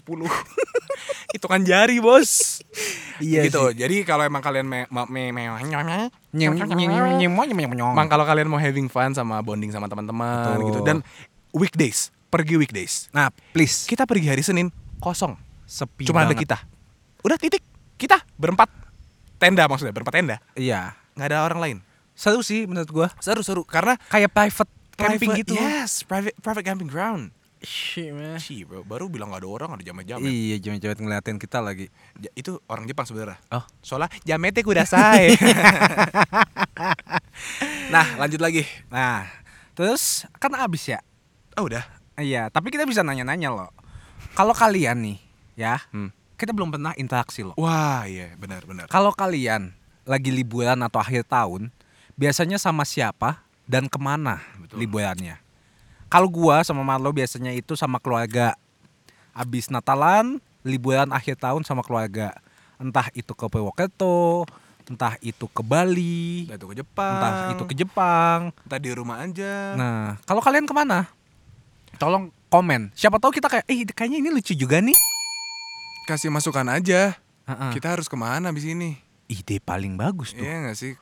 Speaker 1: Hitungan jari, Bos.
Speaker 2: Iya
Speaker 1: gitu. Jadi kalau emang kalian me, me, me, me-
Speaker 2: Nyeng nyeng nyeng nyeng nyeng nyeng nyeng.
Speaker 1: Emang kalau kalian mau having fun sama bonding sama teman-teman
Speaker 2: Betul.
Speaker 1: gitu dan weekdays, pergi weekdays.
Speaker 2: Nah, please.
Speaker 1: Kita pergi hari Senin kosong.
Speaker 2: Sepi
Speaker 1: Cuma ada
Speaker 2: banget.
Speaker 1: kita. Udah titik. Kita berempat tenda maksudnya, berempat tenda.
Speaker 2: Iya.
Speaker 1: nggak ada orang lain.
Speaker 2: Seru sih menurut gua.
Speaker 1: Seru-seru karena
Speaker 2: Kayak private camping
Speaker 1: Private- iya.
Speaker 2: gitu.
Speaker 1: Yes, private private camping ground. Cih, bro, baru bilang gak ada orang ada jamet-jamet.
Speaker 2: Iya, jamet-jamet ngeliatin kita lagi.
Speaker 1: Ja- itu orang Jepang sebenarnya.
Speaker 2: Oh.
Speaker 1: Soalnya jametnya kudasai. nah, lanjut lagi.
Speaker 2: Nah, terus kan abis ya.
Speaker 1: Oh, udah.
Speaker 2: Iya, tapi kita bisa nanya-nanya loh. Kalau kalian nih, ya,
Speaker 1: Hmm.
Speaker 2: kita belum pernah interaksi loh.
Speaker 1: Wah, iya, benar-benar.
Speaker 2: Kalau kalian lagi liburan atau akhir tahun, biasanya sama siapa dan kemana liburannya? Kalau gua sama Marlo biasanya itu sama keluarga. Abis Natalan, liburan akhir tahun sama keluarga. Entah itu ke Purwokerto, entah itu ke Bali,
Speaker 1: Entah itu ke Jepang.
Speaker 2: entah itu ke Jepang.
Speaker 1: Entah di rumah aja.
Speaker 2: Nah, kalau kalian kemana? Tolong komen. Siapa tahu kita kayak, eh kayaknya ini lucu juga nih.
Speaker 1: Kasih masukan aja.
Speaker 2: Heeh.
Speaker 1: Kita harus kemana abis ini?
Speaker 2: Ide paling bagus Ah. tuh.
Speaker 1: Iya gak sih?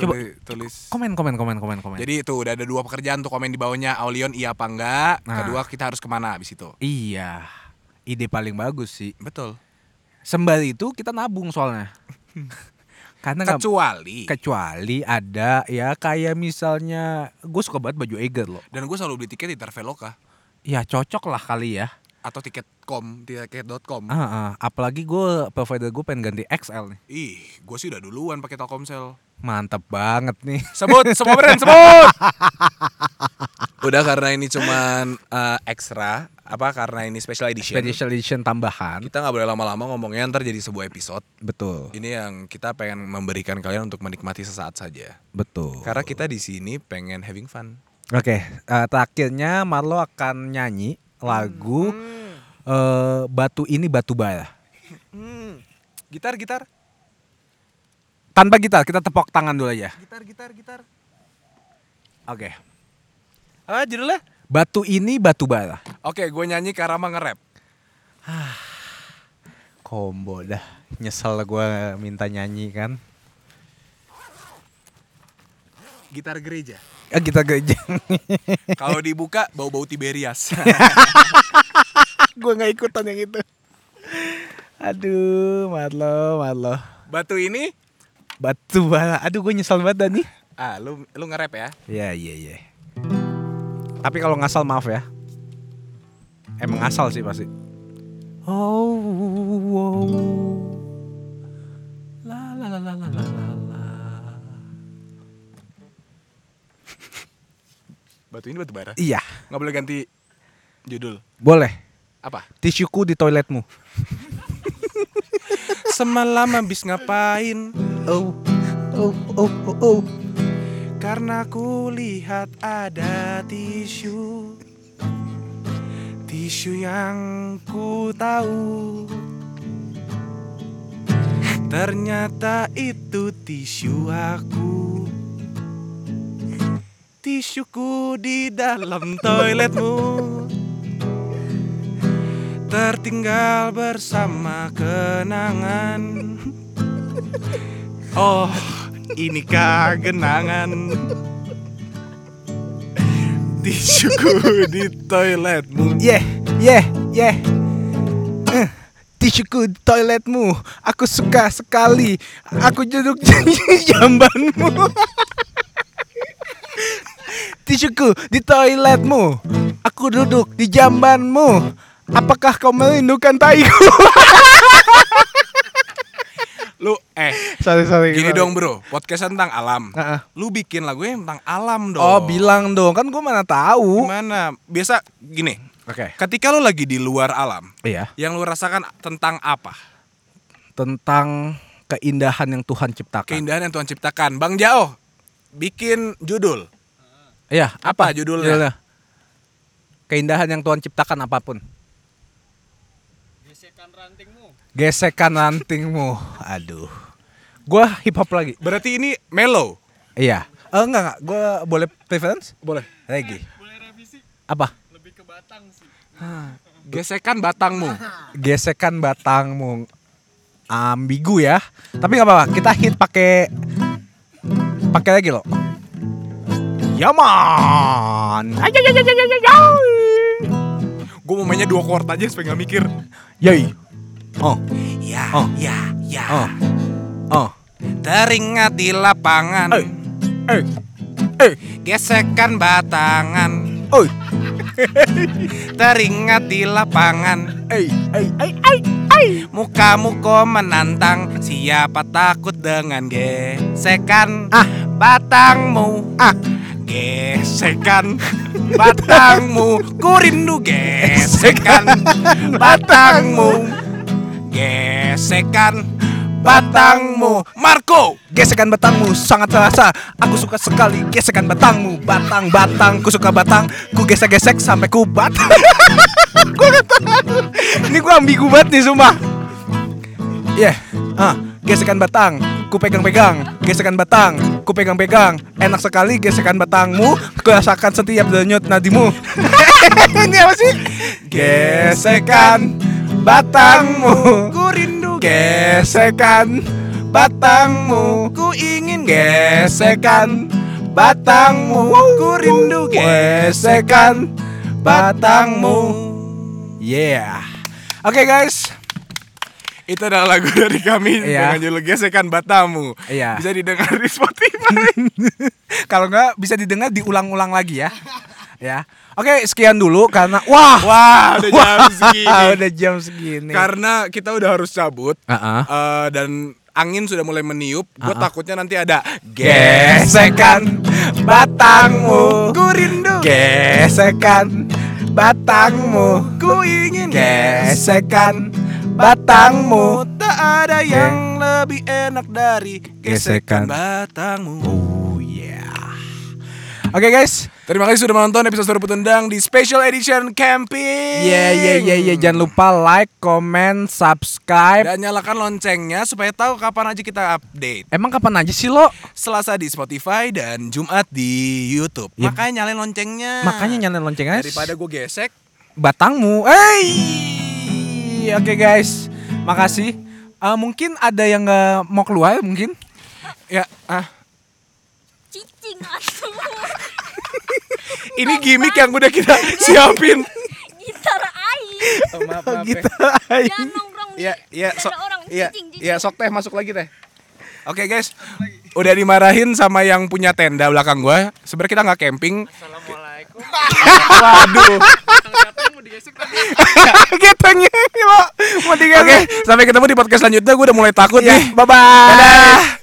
Speaker 2: Coba-
Speaker 1: Tuli- tulis.
Speaker 2: Komen, komen, komen, komen, komen.
Speaker 1: Jadi itu udah ada dua pekerjaan tuh komen di bawahnya Aulion iya apa enggak.
Speaker 2: Nah.
Speaker 1: Kedua kita harus kemana abis itu.
Speaker 2: Iya, ide paling bagus sih.
Speaker 1: Betul.
Speaker 2: Sembari itu kita nabung soalnya. Karena nggak-
Speaker 1: Kecuali.
Speaker 2: kecuali ada ya kayak misalnya gue suka banget baju Eger loh.
Speaker 1: Dan gue selalu beli tiket di Traveloka
Speaker 2: Ya cocok lah kali ya.
Speaker 1: atau tiket.com, tiket.com.
Speaker 2: Ah, ah. Apalagi gue provider gue pengen ganti XL nih.
Speaker 1: Ih, gue sih udah duluan pakai Telkomsel.
Speaker 2: Mantap banget nih.
Speaker 1: Sebut semua brand sebut.
Speaker 2: Oh,
Speaker 1: udah karena ini cuman eh, extra apa karena ini special edition.
Speaker 2: Special edition tambahan.
Speaker 1: Kita nggak boleh lama-lama ngomongnya ntar jadi sebuah episode.
Speaker 2: Betul,
Speaker 1: Ini yang kita pengen memberikan kalian untuk menikmati sesaat saja.
Speaker 2: betul.
Speaker 1: Karena kita di sini pengen having fun.
Speaker 2: Oke, eh, terakhirnya Marlo akan nyanyi lagu eh, Batu ini Batu Bara.
Speaker 1: Hmm. Gitar, gitar,
Speaker 2: Tanpa gitar, kita tepok tangan dulu aja.
Speaker 1: gitar, gitar, gitar.
Speaker 2: Oke.
Speaker 1: Ah, judulnya?
Speaker 2: Batu ini batu bara.
Speaker 1: Oke, gue nyanyi Karama nge-rap.
Speaker 2: Kombo dah. Nyesel gue minta nyanyi kan.
Speaker 6: Gitar gereja.
Speaker 2: Eh, kita gereja.
Speaker 1: Kalau dibuka bau-bau Tiberias.
Speaker 2: gue nggak ikutan yang itu. Aduh, Marlo, Marlo.
Speaker 1: Batu ini,
Speaker 2: Batu bara. Aduh, gue nyesal banget dah nih.
Speaker 1: ah lu lu nge-rap ya.
Speaker 2: Ya, iya, iya. Tapi kalau ngasal maaf ya. Emang ngasal sih pasti. Oh, wow. La la la la la la la, la.
Speaker 1: Batu ini batu bara.
Speaker 2: Iya,
Speaker 1: Nggak boleh ganti judul.
Speaker 2: boleh.
Speaker 1: Apa?
Speaker 2: Tisuku di toiletmu.
Speaker 1: Semalam habis ngapain?
Speaker 2: Oh, oh, oh, oh, oh.
Speaker 1: Karena ku lihat ada tisu Tisu yang ku tahu Ternyata itu tisu aku Tisuku di dalam toiletmu Tertinggal bersama kenangan Oh, inikah genangan Tisuku di toiletmu
Speaker 2: Yeah, yeah, yeah. Eh, Tisuku di toiletmu. Aku suka sekali. Aku duduk di jambanmu. Tisuku di toiletmu. Aku duduk di jambanmu. Apakah kau merindukan taiku?
Speaker 1: Lu, eh,
Speaker 2: sorry, sorry.
Speaker 1: gini
Speaker 2: sorry.
Speaker 1: dong bro Podcast tentang alam
Speaker 2: Heeh.
Speaker 1: Lu bikin lagunya tentang alam dong
Speaker 2: Oh, bilang dong. Kan gue mana tahu.
Speaker 1: Gimana? Biasa gini
Speaker 2: Oke.
Speaker 1: Ketika lu lagi di luar alam
Speaker 2: Iya.
Speaker 1: Yang lu rasakan tentang apa?
Speaker 2: Tentang keindahan yang Tuhan ciptakan.
Speaker 1: Keindahan yang Tuhan ciptakan Bang Jao Bikin judul
Speaker 2: Iya,
Speaker 1: Apa judulnya?
Speaker 2: Keindahan yang Tuhan ciptakan apapun. Gesekan rantingmu. Gesekan rantingmu. Aduh. Gua hip hop lagi.
Speaker 1: Berarti ini mellow
Speaker 2: Iya. Eh enggak enggak, gua boleh preference?
Speaker 1: Boleh
Speaker 2: Reggae. Apa?
Speaker 1: Gesekan batangmu
Speaker 2: Gesekan batangmu. Ambigu ya. Tapi nggak apa-apa, kita hit pakai pakai lagi loh. Yaman.
Speaker 1: Gue mau mainnya
Speaker 2: Hmm.
Speaker 1: dua chord aja supaya gak mikir
Speaker 2: Yoi. Oh,
Speaker 1: Ya,
Speaker 2: Oh.
Speaker 1: ya, ya
Speaker 2: oh. Oh.
Speaker 1: Teringat di lapangan
Speaker 2: Eh. Eh. Eh.
Speaker 1: Gesekan batangan
Speaker 2: Oi.
Speaker 1: Teringat di lapangan
Speaker 2: Ei, ei, ei,
Speaker 1: Mukamu kok menantang Siapa takut dengan gesekan
Speaker 2: Ah.
Speaker 1: Batangmu
Speaker 2: Ah.
Speaker 1: Gesekan Batangmu Ku rindu gesekan Batangmu Gesekan Batangmu Marco
Speaker 2: Gesekan batangmu sangat terasa. Aku suka sekali gesekan batangmu. Batang, batang, ku suka batang. Ku gesek-gesek sampai ku batang. Gua nggak tahu. Ini gua ambigu banget nih, sumpah. Yeah. Ah, gesekan batang, ku pegang-pegang. Gesekan batang, ku pegang-pegang. Enak sekali gesekan batangmu. Ku rasakan setiap denyut nadimu. Ini apa sih? Gesekan batangmu.
Speaker 1: Ku rindu
Speaker 2: Gesekan batangmu
Speaker 1: Ku ingin
Speaker 2: Gesekan batangmu Ku rindu gesekan batangmu Yeah Oke guys
Speaker 1: Itu adalah lagu dari kami
Speaker 2: Iya.
Speaker 1: dengan judul Gesekan Batamu.
Speaker 2: Iya.
Speaker 1: Bisa didengar di Spotify.
Speaker 2: Kalau nggak bisa didengar diulang-ulang lagi ya Ya Oke sekian dulu karena Wah
Speaker 1: Wah, udah jam segini.
Speaker 2: Udah jam segini
Speaker 1: Karena kita udah harus cabut
Speaker 2: Ah, ah.
Speaker 1: eh, dan angin sudah mulai meniup. Gue takutnya nanti ada
Speaker 2: Gesekan batangmu
Speaker 1: Ku rindu
Speaker 2: Gesekan batangmu
Speaker 1: Ku ingin
Speaker 2: Gesekan batangmu
Speaker 1: Tak ada yang lebih enak dari Gesekan
Speaker 2: Gesekan.
Speaker 1: Batangmu.
Speaker 2: Oh yeah Oke guys
Speaker 1: Terima kasih sudah menonton episode Suara Petendang di Special Edition Camping.
Speaker 2: Yeah yeah yeah yeah iya, Jangan lupa like, comment, subscribe
Speaker 1: Dan nyalakan loncengnya supaya tahu kapan aja kita update.
Speaker 2: Emang kapan aja sih
Speaker 1: Ah,
Speaker 2: lo?
Speaker 1: Selasa di Spotify dan Jumat di YouTube.
Speaker 2: Ya.
Speaker 1: Makanya nyalain loncengnya.
Speaker 2: Makanya nyalain lonceng guys
Speaker 1: daripada gue gesek.
Speaker 2: batangmu Hey Oke guys Makasih Eh, Mungkin ada yang nggak mau keluar mungkin
Speaker 1: Ya, ah.
Speaker 7: cicing atuh
Speaker 1: Ini gimmick yang udah kita siapin.
Speaker 7: gitar air
Speaker 1: Oh, maaf, maaf. ya.
Speaker 2: Gitu.
Speaker 7: jangan nongkrong di
Speaker 1: Iya, iya,
Speaker 7: ada
Speaker 1: sok.
Speaker 7: orang
Speaker 1: Iya,
Speaker 7: cicing cicing
Speaker 1: iya, sok teh masuk lagi teh. Oke guys, udah dimarahin sama yang punya tenda belakang gua. Sebenarnya kita nggak camping.
Speaker 8: Assalamualaikum.
Speaker 1: Waduh,
Speaker 8: Tang jatuh mau digesek tadi.
Speaker 2: Gitu,
Speaker 1: kita Iya, nyanyi, Mo. Oke, sampai ketemu di podcast selanjutnya. Gua udah mulai takut nih. Bye bye. Iya. Dadah.